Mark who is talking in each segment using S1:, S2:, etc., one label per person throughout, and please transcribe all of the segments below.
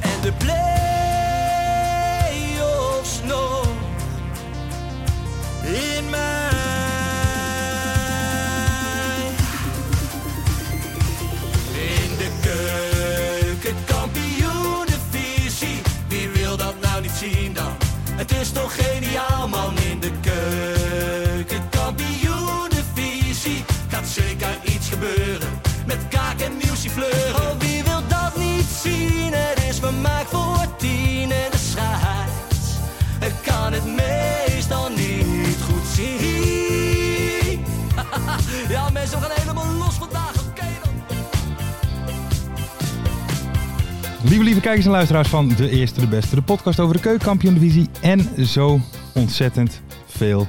S1: En de play-offs nog
S2: In mij.
S1: in de keuken, kampioenenvisie. Wie wil dat nou niet zien dan? Het is toch geniaal man in de keuken, kampioenenvisie. Gaat zeker iets gebeuren met kaak en muziek fleuren. Oh, wie wil dat niet zien? Het is vermaakt voor tien en de scheids. Ik kan het meestal niet goed zien. Ja, mensen, we gaan helemaal los vandaag. Oké dan.
S3: Lieve, lieve kijkers en luisteraars van De Eerste, De Beste, de podcast over de keukenkampioen-divisie en zo ontzettend veel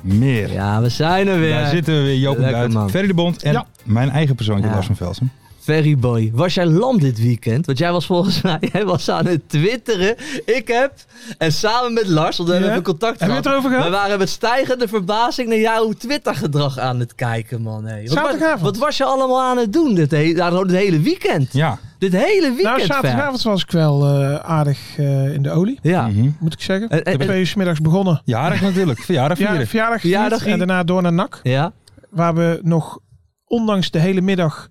S3: meer.
S4: Ja, we zijn er weer.
S3: Daar zitten we weer, Joop en
S4: Lekker,
S3: Duit,
S4: man.
S3: Ferry de Bond en
S4: Ja.
S3: mijn eigen persoontje,
S4: Ja.
S3: Lars van Velsen.
S4: Ferryboy, was jij lam dit weekend? Want jij was volgens mij jij was aan het twitteren. Ik heb, en samen met Lars, want we
S3: Ja.
S4: hebben contact
S3: Hebben we
S4: gehad.
S3: het erover gehad?
S4: We waren met stijgende verbazing naar jouw Twittergedrag aan het kijken, man. Hey. Wat,
S3: Zaterdagavond.
S4: Wat, was je allemaal aan het doen dit, he nou, dit hele weekend?
S3: Ja.
S4: Dit hele weekend,
S5: Nou,
S4: Fer.
S5: zaterdagavond was ik wel eh, aardig eh, in de olie,
S4: Ja.
S3: Mhm.
S5: moet ik zeggen.
S4: En- en-
S5: ik heb twee uur 's middags begonnen.
S3: Jarig natuurlijk, verjaardag
S5: Ja,
S3: vieren.
S5: verjaardag
S4: Verjaardag
S5: gevierd en
S4: hier.
S5: daarna door naar NAC.
S4: ja.
S5: Waar we nog, ondanks de hele middag,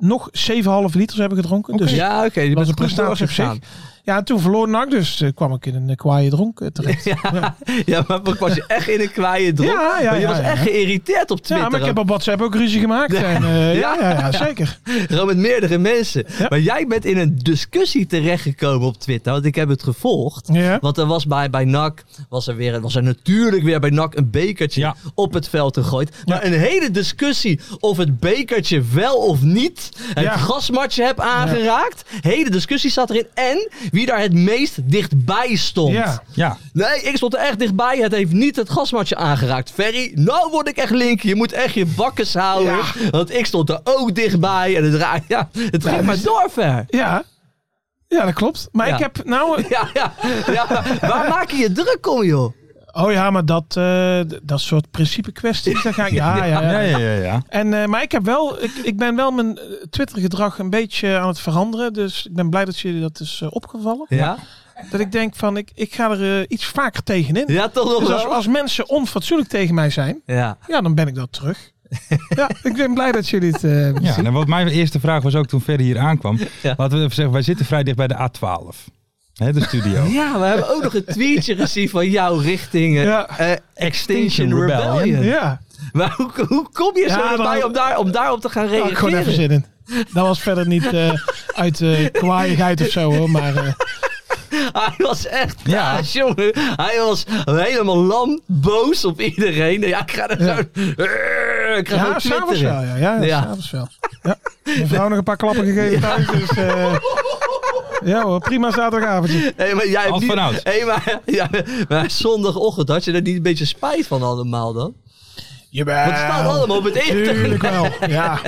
S5: nog 7,5 liters hebben gedronken. Dus ja.
S4: ja, oké. je
S5: was
S4: bent
S5: een
S4: goed
S5: prestatie op zich.
S4: doorgegaan.
S5: en toen verloor NAC, dus eh, kwam ik in een eh, kwaaie dronk eh, terecht.
S4: Ja, ja, maar ik was je echt in een kwaaie drop.
S5: Ja, ja,
S4: je
S5: ja,
S4: was
S5: ja.
S4: echt geïrriteerd op Twitter.
S5: Ja, maar ik
S4: ook.
S5: heb op WhatsApp ook ruzie gemaakt. En, eh, ja, ja, ja, zeker.
S4: Gewoon met meerdere mensen. Maar jij bent in een discussie terechtgekomen op Twitter. Want ik heb het gevolgd.
S5: Ja.
S4: Want er was bij, bij NAC, was er, weer, was er natuurlijk weer bij NAC een bekertje
S3: Ja.
S4: op het veld gegooid. Maar een hele discussie of het bekertje wel of niet het
S5: Ja.
S4: grasmatje heb aangeraakt. Hele discussie zat erin. En wie daar het meest dichtbij stond.
S5: Ja.
S3: Ja,
S4: Nee, ik stond er echt dichtbij. Het heeft niet het gasmatje aangeraakt. Ferry, nou word ik echt link. Je moet echt je bakkes houden. Want ik stond er ook dichtbij. En het, ra- ja, het ging maar door, Fer.
S5: Ja. ja, dat klopt. Maar
S4: Ja.
S5: ik heb nou...
S4: Ja, ja, ja. maar Waar maak je je druk om, joh?
S5: Oh ja, maar dat, eh, d- dat soort principe kwesties, daar ga ik... ja, ja,
S3: ja,
S5: ja.
S3: ja, ja. ja.
S5: En, eh, maar ik, heb wel, ik, ik ben wel mijn eh, Twitter-gedrag een beetje aan het veranderen. Dus ik ben blij dat jullie dat is eh, opgevallen.
S4: Ja,
S5: Dat ik denk van, ik, ik ga er eh, iets vaker tegenin.
S4: ja toch nog
S5: Dus als,
S4: wel?
S5: als mensen onfatsoenlijk tegen mij zijn,
S4: Ja.
S5: ja, dan ben ik dat terug. ja, ik ben blij dat jullie het eh, hebben
S3: Ja,
S5: gezien.
S3: en wat mijn eerste vraag was ook toen Ferry hier aankwam. Laten we even zeggen, wij zitten vrij dicht bij de A12. Hè, de studio.
S4: ja, we hebben ook nog een tweetje gezien van jou richting eh,
S5: Ja.
S4: eh, Extinction Rebellion.
S5: Ja,
S4: Maar hoe, hoe kom je zo
S5: Ja,
S4: erbij
S5: dan-
S4: om, daar, om daarop te gaan
S5: daar
S4: reageren?
S5: had ik gewoon even zin in. Dat was verder niet eh, uit eh kwaaiigheid of zo hoor, maar eh,
S4: Hij was echt
S3: Ja.
S4: ja. jongen. Hij was helemaal lam, boos op iedereen. Ja, ik ga er
S5: Ja.
S4: gewoon... Ik ga gewoon
S5: ja, s'avonds
S4: twitteren.
S5: wel. Ja, ja, ja,
S4: Ja.
S5: s'avonds wel. Ja. Mijn vrouw nog een paar klappen gegeven thuis, dus... eh, ja hoor, prima zaterdagavondje.
S4: Hey, maar jij hebt
S3: Als
S4: niet-
S3: vanouds.
S4: Hey, maar, ja, maar zondagochtend had je er niet een beetje spijt van allemaal dan?
S5: Jawel.
S4: Want het staat allemaal op het internet.
S5: Tuurlijk wel, ja.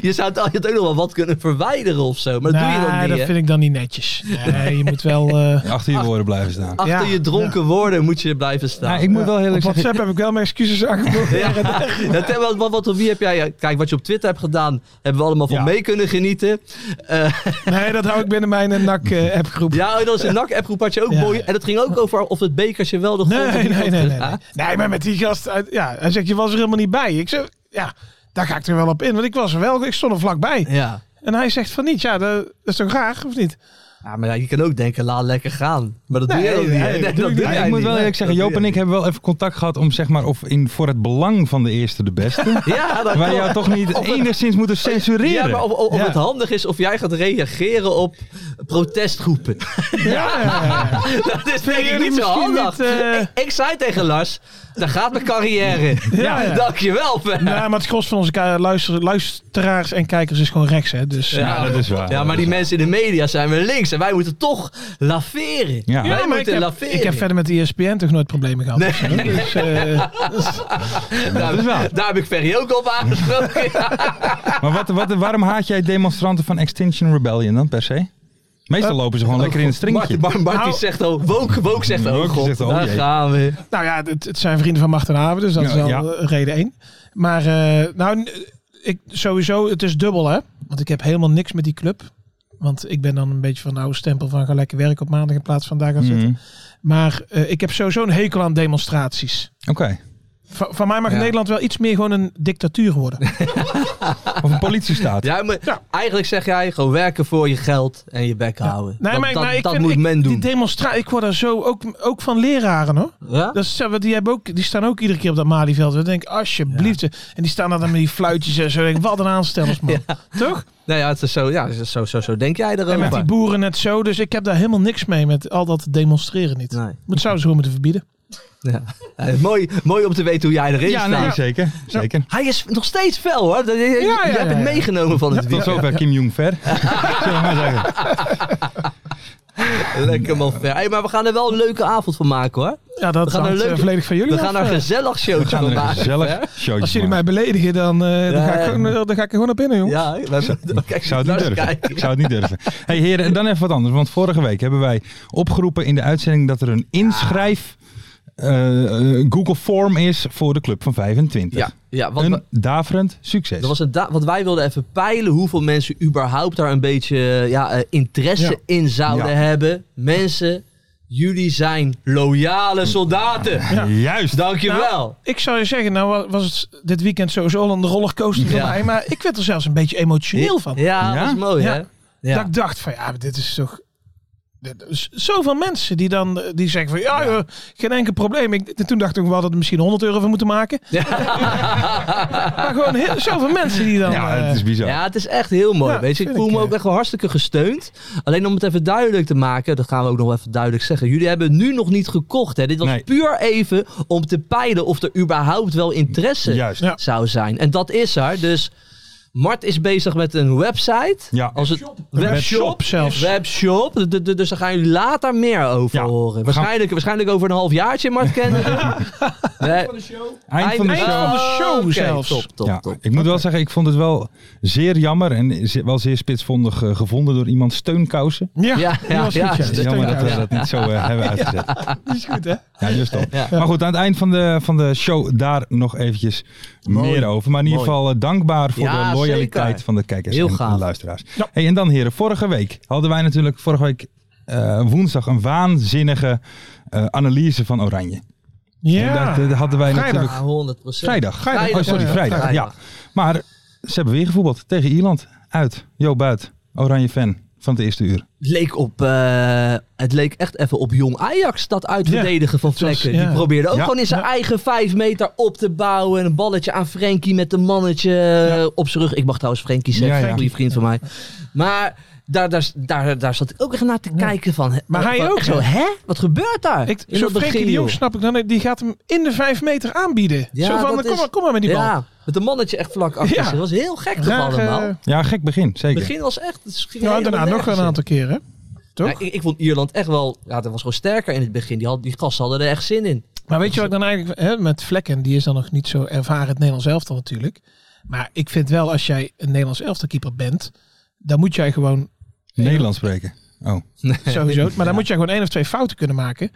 S4: Je zou het je had ook nog wel wat kunnen verwijderen of zo. Maar dat doe je dan
S5: Nee,
S4: niet,
S5: dat
S4: hè?
S5: vind ik dan niet netjes. Nee, je moet wel... eh
S3: Achter je woorden blijven staan.
S4: Achter
S5: Ja,
S4: je dronken woorden moet je blijven staan.
S3: Ja, ik moet wel heel
S5: op
S3: eerlijk zeggen,
S5: WhatsApp heb ik wel mijn excuses aangeboden.
S4: Ja, dat hebben we- wat, wat, wat, wie heb jij, ja, kijk, wat je op Twitter hebt gedaan, hebben we allemaal van
S3: Ja.
S4: mee kunnen genieten. Eh,
S5: Nee, dat hou ik binnen mijn eh, NAC eh, appgroep.
S4: Ja, en dat was een NAC-appgroep had je ook
S5: Ja.
S4: mooi. En dat ging ook over of het bekertje wel de Ah. grond
S5: Nee,
S4: of
S5: nee,
S4: niet
S5: nee,
S4: had
S5: nee, nee.
S4: geraakt.
S5: Nee, maar met die gast... uit- ja, hij zegt, je was er helemaal niet bij. Ik zeg, ja, daar ga ik er wel op in. Want ik was er wel, ik stond er vlakbij.
S4: Ja.
S5: En hij zegt van niet. Ja, dat dat is toch raar, of niet?
S4: Ja, Ah, maar ja, je kan ook denken, laat lekker gaan. Maar dat doe
S5: Nee,
S4: je ook
S5: nee,
S4: niet.
S5: nee,
S4: hè?
S5: dat
S4: Nee,
S5: doe
S4: dat
S5: ik
S4: doe
S5: niet.
S4: jij
S3: ik moet
S4: niet,
S3: wel
S4: hè?
S3: eerlijk zeggen,
S4: Dat
S3: Joop
S4: doe
S3: en ik
S4: jij
S3: hebben wel even contact gehad om zeg maar of in voor het belang van de eerste de beste.
S4: niet. Ja, dat
S3: wij jou toch niet
S4: Of- Oh,
S3: enigszins moeten censureren.
S4: Ja, maar of, of- of
S3: Ja.
S4: het handig is of jij gaat reageren op protestgroepen.
S5: Ja, ja, ja.
S4: Dat is denk ik
S5: jullie
S4: niet zo
S5: misschien
S4: handig.
S5: niet, eh,
S4: ik, ik zei tegen Lars, daar gaat mijn carrière.
S5: Ja,
S4: Ja,
S5: ja.
S4: dankjewel. Fer.
S5: Nou, maar het gros van onze ka- luister- luisteraars en kijkers is gewoon rechts, hè. Dus,
S4: Ja.
S3: Ja, dat is waar.
S4: Ja, maar die mensen in de media zijn weer links en wij moeten toch laveren.
S3: Ja.
S4: Wij
S5: Ja, maar ik
S4: moeten
S5: heb,
S4: laveren.
S5: ik heb verder met de E ESPN toch nooit problemen gehad. of zo, hè? Dus, eh,
S4: daar, daar heb ik Ferry ook op aangesproken.
S3: Maar wat, wat, waarom haat jij demonstranten van Extinction Rebellion dan per se?
S4: Eh,
S3: Meestal lopen ze gewoon lekker in het stringetje.
S4: Marty, Mar- Marty
S5: Nou-
S4: zegt al, Woke, woke zegt al,
S3: Woke
S4: oh god,
S3: zegt al,
S4: daar
S3: jee.
S4: gaan we.
S5: Nou ja, het, het zijn vrienden van Macht en Haven, dus dat
S3: Ja,
S5: is al
S3: ja.
S5: eh, reden één. Maar eh, nou, n- ik, sowieso, het is dubbel hè. Want ik heb helemaal niks met die club. Want ik ben dan een beetje van de oude stempel van ga lekker werken op maandag in plaats van daar
S4: Mm.
S5: gaan zitten.
S3: Mhm.
S5: Maar eh, ik heb sowieso een hekel aan demonstraties.
S3: Oké.
S5: Va- van mij mag
S4: Ja.
S5: Nederland wel iets meer gewoon een dictatuur worden.
S3: Of een politiestaat.
S4: Ja, maar
S5: Ja.
S4: eigenlijk zeg jij gewoon werken voor je geld en je bek houden.
S5: Nee,
S4: dat
S5: maar, ik-
S4: dat,
S5: maar ik
S4: dat
S5: vind-
S4: moet
S5: ik-
S4: men doen.
S5: Die demonstra ik word daar zo ook, ook van leraren hoor.
S4: ja?
S5: Dat is, eh, want die, hebben ook, die staan ook iedere keer op dat Malieveld. We denken, alsjeblieft. En die staan daar dan met die fluitjes en zo. Denk, ik, wat een aanstellers man. Toch?
S4: Nou ja, het is zo, ja, het is zo, zo, zo denk jij
S5: En
S4: erover.
S5: met die boeren net zo. Dus ik heb daar helemaal niks mee met al dat demonstreren niet.
S4: Nee.
S5: Dat zouden ze gewoon moeten verbieden.
S4: Ja. Ja, mooi, mooi om te weten hoe jij erin
S3: Ja,
S4: staat.
S3: nee, zeker. zeker.
S4: Hij is nog steeds fel hoor. Dat- Je, je-
S5: ja,
S4: je
S5: ja,
S4: hebt
S5: ja.
S4: het meegenomen van het
S3: Tot
S4: weekend.
S3: zover Kim Jong-ver. Zullen we maar zeggen.
S4: Lekker man. Fer. Hey, maar we gaan er wel een leuke avond van maken hoor.
S5: Ja, dat
S4: gaan
S5: gaan
S4: een leuke-
S5: volledig van jullie
S4: We gaan
S5: af,
S4: er een
S5: eh.
S4: gezellig
S3: We
S4: showtje
S3: gaan
S4: van
S3: er een
S4: maken. hè?
S3: gezellig showtje
S5: Als jullie mij
S3: maken.
S5: beledigen, dan, eh, dan,
S4: Ja,
S5: ga ik
S4: ja.
S5: gewoon, eh, dan ga ik er gewoon op in, jongens.
S4: Ja, we hebben, kijk,
S3: Ik zou het niet
S4: Lars
S3: durven.
S4: kijkt.
S3: Ik zou het niet durven. hey, heren, en dan even wat anders. Want vorige week hebben wij opgeroepen in de uitzending dat er een inschrijf eh, eh, Google Form is voor de Club van 25.
S4: Ja, ja want
S3: een daverend succes.
S4: Dat was het da- want wij wilden even peilen hoeveel mensen überhaupt daar een beetje eh, ja, eh, interesse
S5: Ja.
S4: in zouden
S3: Ja.
S4: hebben. Mensen, jullie zijn loyale soldaten.
S3: Juist.
S4: Dankjewel.
S5: Nou, Ik zou je zeggen, nou wa- was het dit weekend sowieso al een rollercoaster voor
S4: Ja.
S5: mij. Maar ik werd er zelfs een beetje emotioneel van.
S4: Ja,
S3: Ja?
S4: dat is mooi hè.
S5: Ja. Dat ik dacht van, ja, maar dit is toch... dit is Zoveel mensen die dan eh, die zeggen van ja, joh, geen enkel probleem. Ik, toen dacht ik wel dat we misschien 100 euro van moeten maken. maar gewoon heel, zoveel mensen die dan.
S3: Ja,
S5: eh,
S3: het is bizar.
S4: Ja, het is echt heel mooi.
S5: Ja,
S4: weet je, ik
S5: vind
S4: voel
S5: ik,
S4: me
S5: eh.
S4: ook echt wel hartstikke gesteund. Alleen om het even duidelijk te maken, dat gaan we ook nog even duidelijk zeggen. Jullie hebben nu nog niet gekocht. Hè. Dit was
S3: Nee.
S4: puur even om te peilen of er überhaupt wel interesse
S3: Juist.
S5: Ja.
S4: zou zijn. En dat is er. Dus Mart is bezig met een website.
S3: Ja.
S4: Als het
S5: Webshop zelfs.
S4: Webshop. D- d- d- Dus daar gaan jullie later meer over
S3: Ja.
S4: horen. Waarschijnlijk, waarschijnlijk over een half jaartje, Mart kennen. nee.
S3: Eind van de
S5: Eind van
S3: show.
S5: de show
S4: Oké,
S5: zelfs.
S4: Top, top,
S3: Ja,
S4: top.
S3: ik moet wel zeggen, ik vond het wel zeer jammer en ze- wel zeer spitsvondig eh, gevonden door iemand steunkousen.
S5: eh, Ja,
S4: Ja,
S5: ja,
S4: ja, ja.
S5: ja.
S3: Het is jammer dat we dat niet zo eh, hebben uitgezet.
S5: is goed, hè?
S3: Ja, just dan.
S4: Ja.
S3: Maar goed, aan het eind van de, van de show daar nog eventjes
S4: Mooi.
S3: meer over. Maar in ieder
S4: Mooi.
S3: geval eh, dankbaar voor
S4: Ja,
S3: de loyaliteit
S4: zeker.
S3: van de kijkers
S4: Heel
S3: en
S4: gaaf.
S3: de luisteraars.
S5: Ja.
S3: Hey, en dan heren, vorige week hadden wij natuurlijk vorige week eh, woensdag een waanzinnige eh, analyse van Oranje. En
S5: Ja.
S3: Dat, eh, hadden wij
S5: Vrijdag.
S3: natuurlijk...
S4: Ja, 100 procent.
S3: Vrijdag.
S5: Vrijdag.
S3: Oh, sorry,
S5: Ja, ja,
S3: vrijdag. Ja.
S4: vrijdag.
S3: Maar ze hebben weer gevoetbald tegen Ierland. Uit. Jo Buit, Oranje fan van het eerste uur.
S4: Het leek, op, eh, het leek echt even op jong Ajax, dat uitverdedigen van
S5: was-
S4: Vlekken.
S5: ja.
S4: Die probeerde ook
S3: Ja.
S4: gewoon in zijn eigen vijf meter op te bouwen. En een balletje aan Frenkie met een mannetje eh, op zijn rug. Ik mag trouwens Frenkie zeggen,
S3: Ja, ja.
S4: een goede vriend van mij. Maar daar, daar, daar, daar zat ik ook echt naar te kijken van. hè,
S5: Maar hij
S4: van
S5: ook,
S4: echt zo,
S5: hè?
S4: hè? Wat gebeurt daar?
S5: Ik,
S4: In
S5: zo
S4: dat begin,
S5: Frenkie de Jong
S4: joh.
S5: snap ik dan, die gaat hem in de vijf meter aanbieden.
S4: Ja,
S5: zo van,
S4: dat
S5: kom
S4: is-
S5: maar, kom maar met die bal.
S4: Ja, met een mannetje echt vlak achter
S5: Ja.
S4: zich. Dat was heel gek toch
S5: Graag, eh,
S4: allemaal.
S3: Ja, gek begin.
S4: Het
S3: Zeker.
S4: begin was echt... het ging
S5: nou,
S4: helemaal
S5: daarna nog
S4: nergens
S5: een
S4: in.
S5: aantal keren. Toch?
S4: Ja, ik, ik vond Ierland echt wel... Ja, dat was gewoon sterker in het begin. Die, had, die gasten hadden er echt zin in.
S5: Maar weet je wat ik dan eigenlijk hè, met Vlekken, die is dan nog niet zo ervaren het Nederlands elftal natuurlijk. Maar ik vind wel als jij een Nederlands elftal keeper bent, dan moet jij gewoon
S3: Nederlands spreken. Oh.
S5: sowieso, maar dan moet jij gewoon één of twee fouten kunnen maken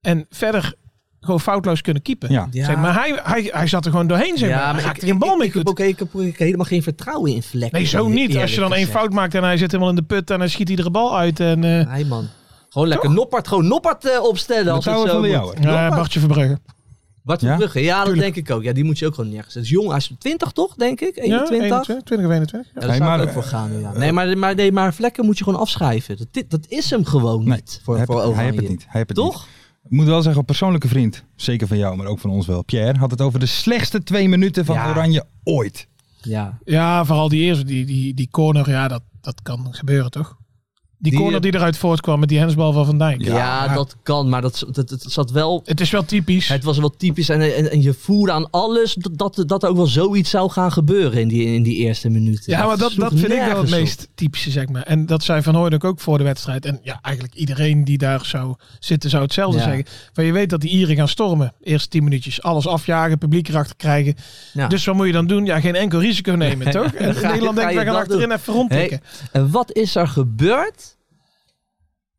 S5: en verder gewoon foutloos kunnen keepen.
S3: Ja.
S4: Ja.
S5: Zeg, maar hij, hij, hij zat er gewoon doorheen, zeg maar. Hij raakte geen bal
S4: ik,
S5: mee
S4: ik, heb
S5: goed.
S4: ook, ik heb ook helemaal geen vertrouwen in Vlek.
S5: Nee, zo niet. Als je dan één
S4: een
S5: fout maakt en hij zit helemaal in de put en hij schiet iedere bal uit. En, eh
S4: Nee, man. Gewoon lekker noppert, gewoon noppert eh, opstellen. Als het
S3: Vertrouwen
S4: zo
S3: van de
S4: moet.
S3: jouwe.
S5: ja,
S4: Noppert.
S5: Bartje Verbrugge.
S4: Bart van
S3: Ja?
S4: Brugge, ja, dat denk ik ook. Ja, die moet je ook gewoon nergens. Dat is jong, hij is 20 toch, denk ik? 21?
S5: 21, 20 of 21.
S4: Ja, daar
S3: Nee,
S4: zou
S3: maar,
S4: ik ook voor gaan. Ja. Nee, maar, maar, nee, maar vlekken moet je gewoon afschrijven. Dat, dit- dat is hem gewoon
S3: Nee,
S4: niet voor,
S3: hij
S4: voor
S3: heeft- hij heeft het
S4: Oranje.
S3: niet. Hij heeft het niet.
S4: Toch?
S3: Ik moet wel zeggen, een persoonlijke vriend, zeker van jou, maar ook van ons wel. Pierre had het over de slechtste twee minuten van
S4: Ja.
S3: Oranje ooit.
S4: Ja.
S5: Ja, vooral die eerste, die, die, die corner, ja, dat, dat kan gebeuren toch? Die,
S4: Die, eh,
S5: corner die eruit voortkwam met die hensbal van Van Dijk.
S4: Ja, dat kan, maar dat, dat, dat zat wel...
S5: Het is wel typisch.
S4: Het was wel typisch en, en, en je voerde aan alles dat, dat, dat er ook wel zoiets zou gaan gebeuren in die, in die eerste minuten.
S5: ja, maar dat,
S4: sloeg
S5: dat vind ik wel het
S4: nergens op.
S5: meest typische, zeg maar. En dat zei Van Hooydonk ook voor de wedstrijd. En ja, eigenlijk iedereen die daar zou zitten zou hetzelfde
S4: Ja.
S5: zeggen. Van je weet dat die Ieren gaan stormen. Eerst tien minuutjes alles afjagen, publiek erachter krijgen.
S4: Ja.
S5: Dus wat moet je dan doen? Ja, geen enkel risico nemen, toch? En
S4: ga je-
S5: Nederland
S4: ga
S5: denkt,
S4: je
S5: wij
S4: dat
S5: gaan achterin even rondtikken.
S4: En wat is er gebeurd?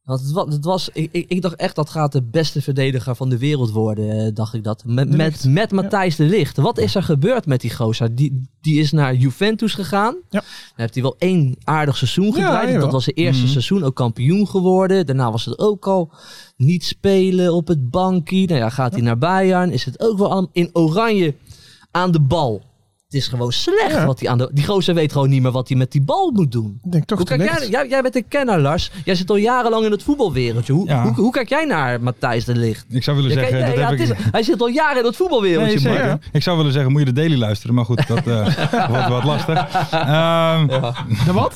S4: Want het wa- het was, ik, ik, ik dacht echt, dat gaat de beste verdediger van de wereld worden, eh, dacht ik dat. Met,
S5: De
S4: met,
S5: Ligt.
S4: met Matthijs de Ligt. Wat is er gebeurd met die gozer? Die, die is naar Juventus gegaan.
S5: Ja.
S4: Dan heeft hij wel één aardig seizoen gedraaid.
S5: jawel.
S4: dat was zijn eerste
S3: Mhm.
S4: seizoen, ook kampioen geworden. Daarna was het ook al niet spelen op het bankie. Nou ja, gaat hij naar Bayern. Is het ook wel aan- in oranje aan de bal. Het is gewoon slecht
S5: Ja.
S4: wat hij aan de... Die gozer weet gewoon niet meer wat hij met die bal moet doen.
S5: Ik denk toch
S4: Hoe
S5: te
S4: kijk
S5: licht.
S4: jij, jij, jij bent een kenner, Lars. Jij zit al jarenlang in het voetbalwereldje. Hoe,
S3: Ja.
S4: hoe, hoe kijk jij naar Matthijs de Ligt?
S3: Ik zou willen
S4: Ja,
S3: zeggen,
S4: kijk, nee, ja,
S3: dat heb ik...
S4: het is- hij zit al jaren in het
S3: Nee,
S4: voetbalwereldje.
S3: zeker.
S4: man.
S3: Ik zou willen zeggen, moet je de daily luisteren, maar goed, dat eh, wordt wat lastig. Ehm,
S5: De wat?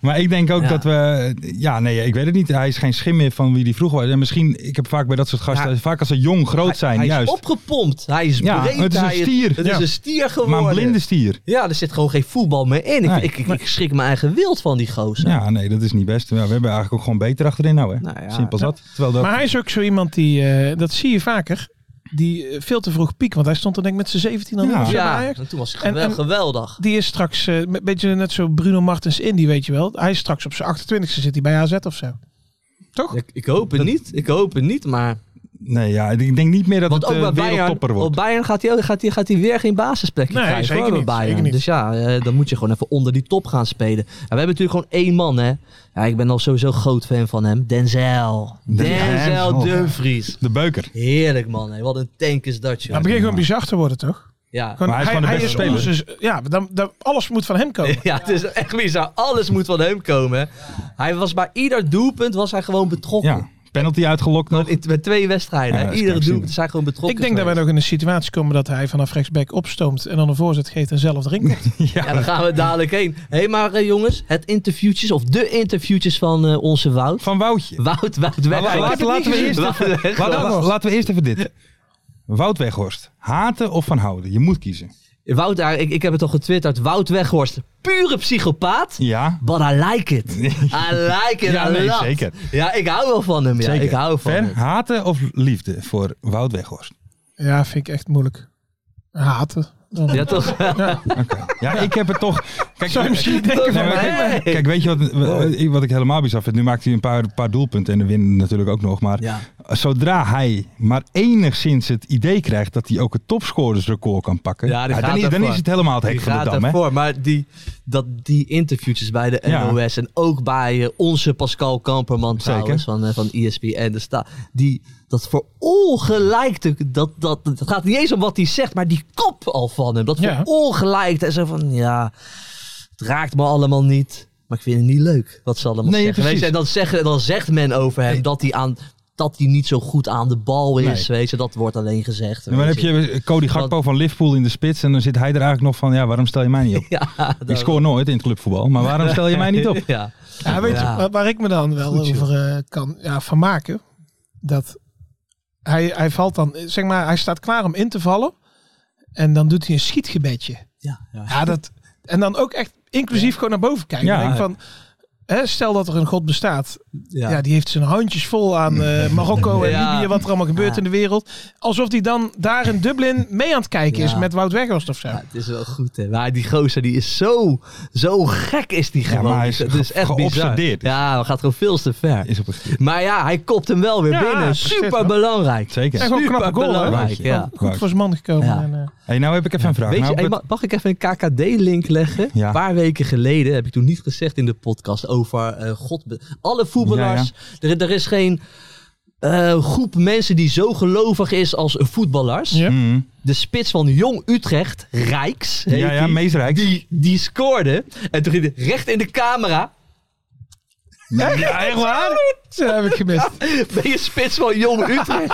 S3: Maar ik denk ook
S4: Ja.
S3: dat we. Ja, nee, ik weet het niet. Hij is geen schim meer van wie die vroeger was. En misschien, ik heb vaak bij dat soort gasten,
S4: Ja.
S3: vaak als ze jong groot zijn,
S4: hij
S3: juist.
S4: is opgepompt. Hij is
S3: Ja,
S4: breed.
S3: het is een
S4: hij
S3: stier.
S4: Het
S3: Ja.
S4: is een stier geworden.
S3: maar een blinde stier.
S4: Ja, er zit gewoon geen voetbal meer in. Ik,
S3: Nee.
S4: ik, ik, ik schrik mijn eigen wild van die gozer.
S3: Ja, nee, dat is niet best. Ja, we hebben eigenlijk ook gewoon beter achterin nou, hè?
S4: Nou ja.
S3: Simpel als dat. Terwijl dat.
S5: Maar hij is ook zo iemand die, eh, dat zie je vaker, die eh, veel te vroeg piekt. Want hij stond er denk ik met zijn 17 al in
S3: Ja.
S5: of zo bij
S4: Ja,
S5: Ajax.
S4: en toen was hij
S5: En-
S4: gewel-
S5: en-
S4: geweldig.
S5: Die is straks, eh, een beetje net zo Bruno Martens Indy, weet je wel. Hij is straks op zijn 28e zit hij bij AZ of zo. Toch?
S4: Ik, ik hoop het niet. Ik hoop het niet, maar...
S3: Nee, ja, ik denk niet meer dat
S4: Want
S3: het
S4: ook
S3: eh,
S4: bij Bayern,
S3: wereldtopper
S4: op
S3: wordt.
S4: Bayern gaat hij, ook- gaat, hij, gaat hij weer geen basisplekje
S5: Nee,
S4: krijgen.
S5: zeker
S4: hoor, bij
S5: niet,
S4: Bayern.
S5: zeker niet.
S4: Dus ja, eh, dan moet je gewoon even onder die top gaan spelen. En we hebben natuurlijk gewoon één man, hè. Ja, ik ben al sowieso groot fan van hem. Denzel. Denzel
S3: Denzel.
S4: Dumfries.
S3: De beuker.
S4: Heerlijk, man. Hè. Wat een tank is dat,
S5: Hij
S4: joh.
S5: begint gewoon bizar te worden, toch?
S4: Ja.
S5: Gewoon,
S3: Maar hij is gewoon de beste
S5: is onze- ja, dan, dan, alles moet van hem komen.
S4: Ja, het is echt bizar. Alles moet van hem komen. Hij was bij ieder doelpunt was hij gewoon betrokken.
S3: Ja. Penalty uitgelokt nog.
S4: In- Met twee wedstrijden.
S3: Ja,
S4: hè.
S3: dat is
S4: Iedere
S3: krankzinnig.
S4: doelpunt is hij gewoon betrokken.
S5: Ik denk dat wij
S4: geweest.
S5: nog in een situatie komen dat hij vanaf rechtsback opstoomt en dan een voorzet geeft en zelf erin komt.
S4: Ja, daar gaan we dadelijk heen. Hé, hey, maar eh, jongens, het interviewtjes, of de interviewtjes van eh, onze Wout.
S3: Van Woutje.
S4: Wout, Wout
S3: Maar
S4: Weghorst.
S3: Nou, laten- laten we eerst
S4: Wout Weghorst.
S3: Laten, we- laten we eerst even dit. Wout Weghorst. Haten of van houden? Je moet kiezen.
S4: Wout, daar- ik, ik heb het al getwitterd. Wout Weghorst, pure psychopaat.
S3: Ja.
S4: But I like it. I like it
S3: Ja,
S4: a
S3: nee,
S4: lot.
S3: zeker.
S4: Ja, ik hou wel van hem. Ja.
S3: Zeker.
S4: Ik hou van
S3: Ver,
S4: hem.
S3: haten of liefde voor Wout Weghorst?
S5: Ja, vind ik echt moeilijk. Haten. Dan.
S4: Ja, toch?
S3: Ja, ik heb het toch. Kijk,
S5: Zou je misschien denken van
S3: Nee, maar
S5: mij?
S3: kijk, kijk, weet je wat, wat ik helemaal bizar vind? Nu maakt hij een paar, paar doelpunten en de winnen natuurlijk ook nog. Maar
S4: Ja.
S3: zodra hij maar enigszins het idee krijgt dat hij ook het topscorersrecord kan pakken,
S4: Ja, die gaat
S3: dan, is, dan
S4: ervoor.
S3: is het helemaal het hek
S4: Die
S3: van de
S4: gaat
S3: dam. Hè?
S4: ervoor, maar die, dat, die interviewtjes bij de
S3: Ja.
S4: NOS en ook bij eh, onze Pascal Kamperman
S3: Zeker.
S4: trouwens van, eh, van ESPN, de sta, die, dat verongelijkte, dat, dat, het gaat niet eens om wat hij zegt, maar die kop al van hem, dat
S5: Ja.
S4: verongelijkte en zo van, ja, het raakt me allemaal niet, maar ik vind het niet leuk wat ze allemaal
S3: Nee,
S4: zeggen. Weet
S3: precies.
S4: je, en dan, zeggen, dan zegt men over hem dat hij aan... Dat hij niet zo goed aan de bal is, weet je. Dat wordt alleen gezegd.
S3: En dan
S4: weet
S3: heb je Cody Gakpo van Liverpool in de spits en dan zit hij er eigenlijk nog van, ja, waarom stel je mij niet op?
S4: Ja,
S3: ik scoor nooit in het clubvoetbal, maar waarom stel je mij niet op?
S4: ja.
S5: Ja, weet
S4: Ja.
S5: je, waar, waar ik me dan wel
S4: Goed, joh.
S5: over eh, kan ja, van maken, dat hij, hij valt dan, eh, zeg maar, hij staat klaar om in te vallen en dan doet hij een schietgebedje.
S4: Ja, ja.
S5: Ja, dat, en dan ook echt inclusief gewoon naar boven kijken.
S3: Ja.
S5: Ik Denk van, hè, stel dat er een god bestaat, ja. die heeft zijn handjes vol aan eh, Marokko en
S4: Mm. Ja.
S5: Libië, wat er allemaal gebeurt
S4: Ja.
S5: in de wereld. Alsof hij dan daar in Dublin mee aan het kijken is
S4: Ja.
S5: met Wout Weghorst of zo.
S4: Ja, het is wel goed, hè. Maar die gozer, die is zo, zo gek is die gewoon.
S3: maar hij is
S4: Het is
S3: ge-
S4: echt
S3: geobsedeerd.
S4: bizar. Ja, we gaat gewoon veel te ver.
S3: Is op een-
S4: Maar ja, hij kopt hem wel weer
S5: Ja,
S4: binnen.
S5: precies,
S4: Super
S5: hoor.
S4: belangrijk.
S3: Zeker.
S5: En gewoon een knappe goal, hè?
S4: Superbelangrijk, ja.
S5: Goed voor zijn man gekomen.
S4: Ja.
S5: En, eh,
S3: Hey, nou heb ik even een vraag.
S4: Weet je,
S3: Nou,
S4: hey, ma- mag ik even een KKD-link leggen?
S3: Ja.
S4: Een paar weken geleden heb ik toen niet gezegd in de podcast over eh, God. Alle voetballars. Er, er is geen eh, groep mensen die zo gelovig is als voetballers.
S5: Ja.
S3: Mm.
S4: De spits van Jong Utrecht, Rijks. heet
S3: Ja, ja,
S4: die,
S3: Mees Rijks.
S4: die, die scoorde. En toen ging hij recht in de camera.
S5: Ja, echt waar? Dat heb ik gemist.
S4: Ben je spits van Jong Utrecht?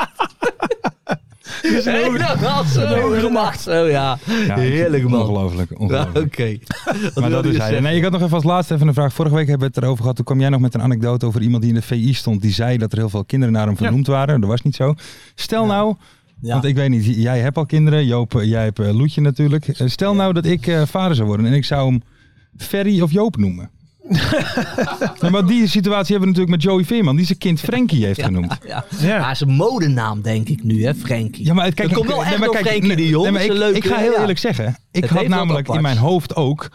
S5: is een hoge-
S4: een hogere macht. Oh ja,
S3: Ja,
S4: heerlijk man.
S3: Ongelooflijk.
S4: Ja,
S3: ongelooflijk.
S4: Oké. Wat
S3: Maar dat
S4: wilde
S3: is
S4: je
S3: hij.
S4: zeggen?
S3: Nee, ik had nog even als laatste even een vraag. Vorige week hebben we het erover gehad. Toen kwam jij nog met een anekdote over iemand die in de VI stond. Die zei dat er heel veel kinderen naar hem vernoemd waren. Dat was niet zo. Stel nou,
S4: Ja.
S3: want ik weet niet, jij hebt al kinderen. Joop, eh, jij hebt eh, Loetje natuurlijk. Eh, Stel nou dat ik eh, vader zou worden en ik zou hem Ferry of Joop noemen. nee, maar die situatie hebben we natuurlijk met Joey Veerman. Die zijn kind Frankie heeft genoemd.
S4: Ja.
S5: Ja.
S4: Maar het is een modenaam, denk ik nu, hè, Frankie.
S3: Ja, maar het- kijk,
S4: Dat komt wel
S3: ik-
S4: echt
S3: maar
S4: door
S3: kijk,
S4: Frenkie de Jong,
S3: maar
S4: is
S3: ik,
S4: een leuke-
S3: ik ga heel
S4: ja.
S3: eerlijk zeggen. Ik
S4: Het
S3: had
S4: heeft wat
S3: namelijk in
S4: aparts.
S3: mijn hoofd ook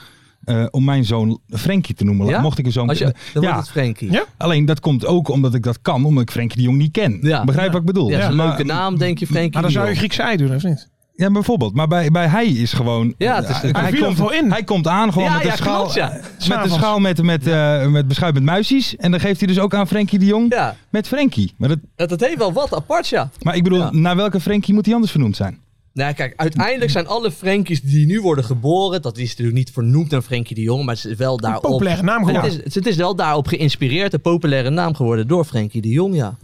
S3: eh, om mijn zoon Frenkie te noemen.
S4: Ja?
S3: Mocht ik hem zo
S4: Als je,
S3: meteen-
S4: dan wordt
S3: Ja,
S4: het Frankie.
S5: Ja.
S3: alleen dat komt ook omdat ik dat kan, omdat ik Frenkie de Jong niet ken.
S4: Ja.
S3: Begrijp wat ik bedoel?
S4: Ja, dat is een
S3: Maar-
S4: leuke naam, denk je, Frankie.
S5: Maar dan
S4: de
S5: zou je
S4: Jong.
S5: Griekse ei doen, of niet?
S3: Ja, maar bijvoorbeeld. Maar bij, bij hij is gewoon...
S4: Ja, het is-
S5: Hij viel
S3: komt,
S5: ervoor in.
S3: hij komt aan gewoon
S4: Ja,
S3: met, een
S4: ja,
S3: schaal,
S4: klopt, ja.
S3: met een
S5: S'avonds.
S3: schaal met, met, eh, met beschuit met muisjes. En dan geeft hij dus ook aan Frenkie de Jong
S4: Ja,
S3: met Frenkie. Maar, dat,
S4: dat, dat heeft wel wat apart, ja.
S3: maar ik bedoel,
S4: Ja.
S3: naar welke Frenkie moet hij anders vernoemd zijn?
S4: Nou, kijk, uiteindelijk zijn alle Frankies die nu worden geboren. Dat is natuurlijk niet vernoemd naar Frenkie de Jong, maar het is wel daarop.
S5: populaire naam
S4: Nou, het
S5: geworden.
S4: is, het is wel daarop geïnspireerd, een populaire naam geworden door Frenkie de Jong, ja.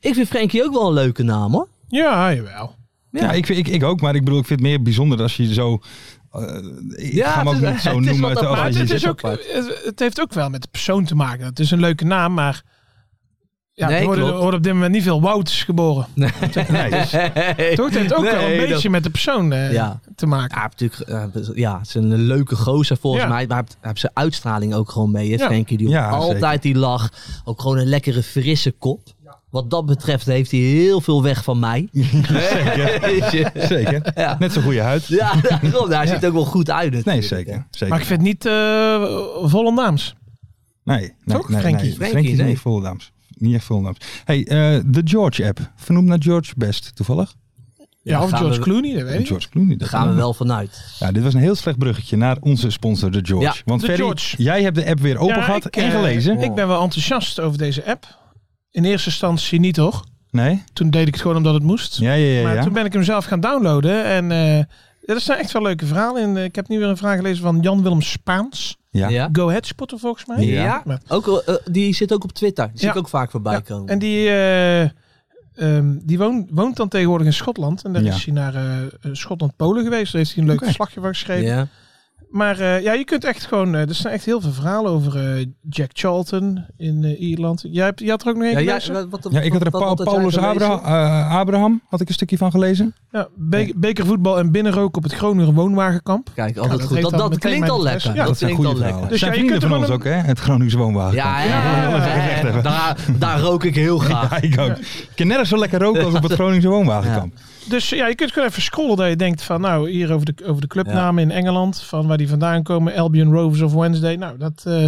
S4: Ik vind Frenkie ook wel een leuke naam, hoor.
S5: Ja, jawel.
S3: Ja, ik, vind, ik, ik ook. Maar ik bedoel, ik vind het meer bijzonder als je zo... eh, ik
S4: Ja,
S3: ga hem
S4: het
S3: ook
S4: is-
S3: niet zo
S4: het is
S3: noemen.
S4: wat
S3: terwijl
S5: Maar
S4: apart.
S3: je-
S5: het, het
S4: dit
S5: is
S4: is
S5: ook,
S4: apart.
S5: het, het heeft ook wel met de persoon te maken. Het is een leuke naam, maar... Ja,
S4: Nee,
S5: er, worden,
S4: klopt.
S5: er worden op dit moment niet veel Wouts geboren.
S3: Nee, dus-
S5: Toch? Het heeft ook wel
S4: Nee,
S5: een
S4: dat-
S5: beetje met de persoon eh,
S4: Ja.
S5: te maken.
S4: Ja, natuurlijk, eh, ja, het is een leuke gozer volgens
S5: Ja.
S4: mij. Maar hij heeft- hij heeft zijn uitstraling ook gewoon mee. Hè,
S5: Ja.
S4: Frenkie de Jong.
S3: Ja,
S4: Altijd die lach. Ook gewoon een lekkere, frisse kop. Wat dat betreft heeft hij heel veel weg van mij. zeker.
S3: Zeker.
S4: Ja.
S3: Net zo'n goede huid.
S4: Ja, daarom. hij ziet er ook wel goed uit. Natuurlijk.
S3: Nee, zeker. zeker.
S5: Maar ik vind het niet eh Vollendaams.
S3: Nee, nee,
S5: Toch?
S3: nee,
S5: Frenkie.
S3: nee.
S4: Frenkie,
S3: Frenkie is
S4: nee.
S3: niet Volendams. Niet echt Volendams. Hey, eh, de George app. Vernoemd naar George Best, toevallig.
S5: Ja,
S4: dan
S5: of
S4: gaan
S5: George
S4: we-
S5: Clooney, dat weet ik.
S3: George Clooney.
S4: Daar
S3: Dat
S4: gaan we wel vanuit.
S3: Ja, dit was een heel slecht bruggetje naar onze sponsor, de George.
S4: Ja,
S3: Want
S5: de
S3: Ferry,
S5: George.
S3: jij hebt de app weer open
S5: Ja,
S3: gehad
S5: ik,
S3: en
S5: eh,
S3: gelezen.
S5: Ik ben wel enthousiast over deze app. In eerste instantie niet, hoor.
S3: Nee?
S5: Toen deed ik het gewoon omdat het moest.
S3: Ja, ja, ja.
S5: maar
S3: ja.
S5: toen ben ik hem zelf gaan downloaden. En eh ja, er staan echt wel leuke verhalen in. Eh, ik heb nu weer een vraag gelezen van Jan-Willem Spaans.
S3: ja.
S4: Ja.
S5: Go Ahead Spotter, volgens mij.
S3: Ja.
S5: Maar-
S4: Ook, eh, die zit ook op Twitter. Die zie
S5: Ja.
S4: ik ook vaak voorbij
S5: Ja,
S4: komen.
S5: En die, eh, ehm, die woont, woont dan tegenwoordig in Schotland. En daar
S3: Ja.
S5: is hij naar eh, Schotland-Polen geweest. Daar heeft hij een leuk
S3: Oké.
S5: verslagje van geschreven.
S4: ja.
S5: Maar eh, ja, je kunt echt gewoon... eh, er staan echt heel veel verhalen over eh, Jack Charlton in eh, Ierland. Jij, hebt, jij had er ook nog één
S4: Ja, ja,
S5: gelezen?
S4: wat- wat-
S3: Ja, ik had er
S4: wat-
S3: Paul-
S4: wat had jij
S3: Paulus
S4: gelezen?
S3: Abra- eh, Abraham, had ik een stukje van gelezen.
S5: Ja, be- bekervoetbal en binnenrook op het Groninger woonwagenkamp.
S4: Kijk,
S5: Ja,
S4: altijd
S5: dat
S4: goed.
S5: heeft
S4: Dat,
S5: dan
S4: dat
S5: meteen
S4: klinkt al
S5: mijn interesse.
S4: lekker. dat
S5: Ja,
S3: dat zijn
S4: klinkt
S3: goede
S4: al lekker.
S3: verhalen. Dus
S5: Dus
S3: zijn
S5: ja, je
S3: vrienden
S5: kunt
S3: van
S5: er
S3: ons
S5: wel
S3: ook, hè? Het Gronings Woonwagen.
S4: Ja, ja,
S5: Ja, dat
S3: wil ik echt
S4: ja.
S3: hebben.
S4: Daar, daar rook ik heel graag.
S3: Ja, ik ook. Ik ken nergens zo lekker roken als op het Groningse woonwagenkamp.
S5: Dus ja, je kunt gewoon even scrollen dat je denkt van... Nou, hier over de, over de clubnamen in Engeland. Van waar die vandaan komen. Albion Rovers of Wednesday. Nou, dat... eh,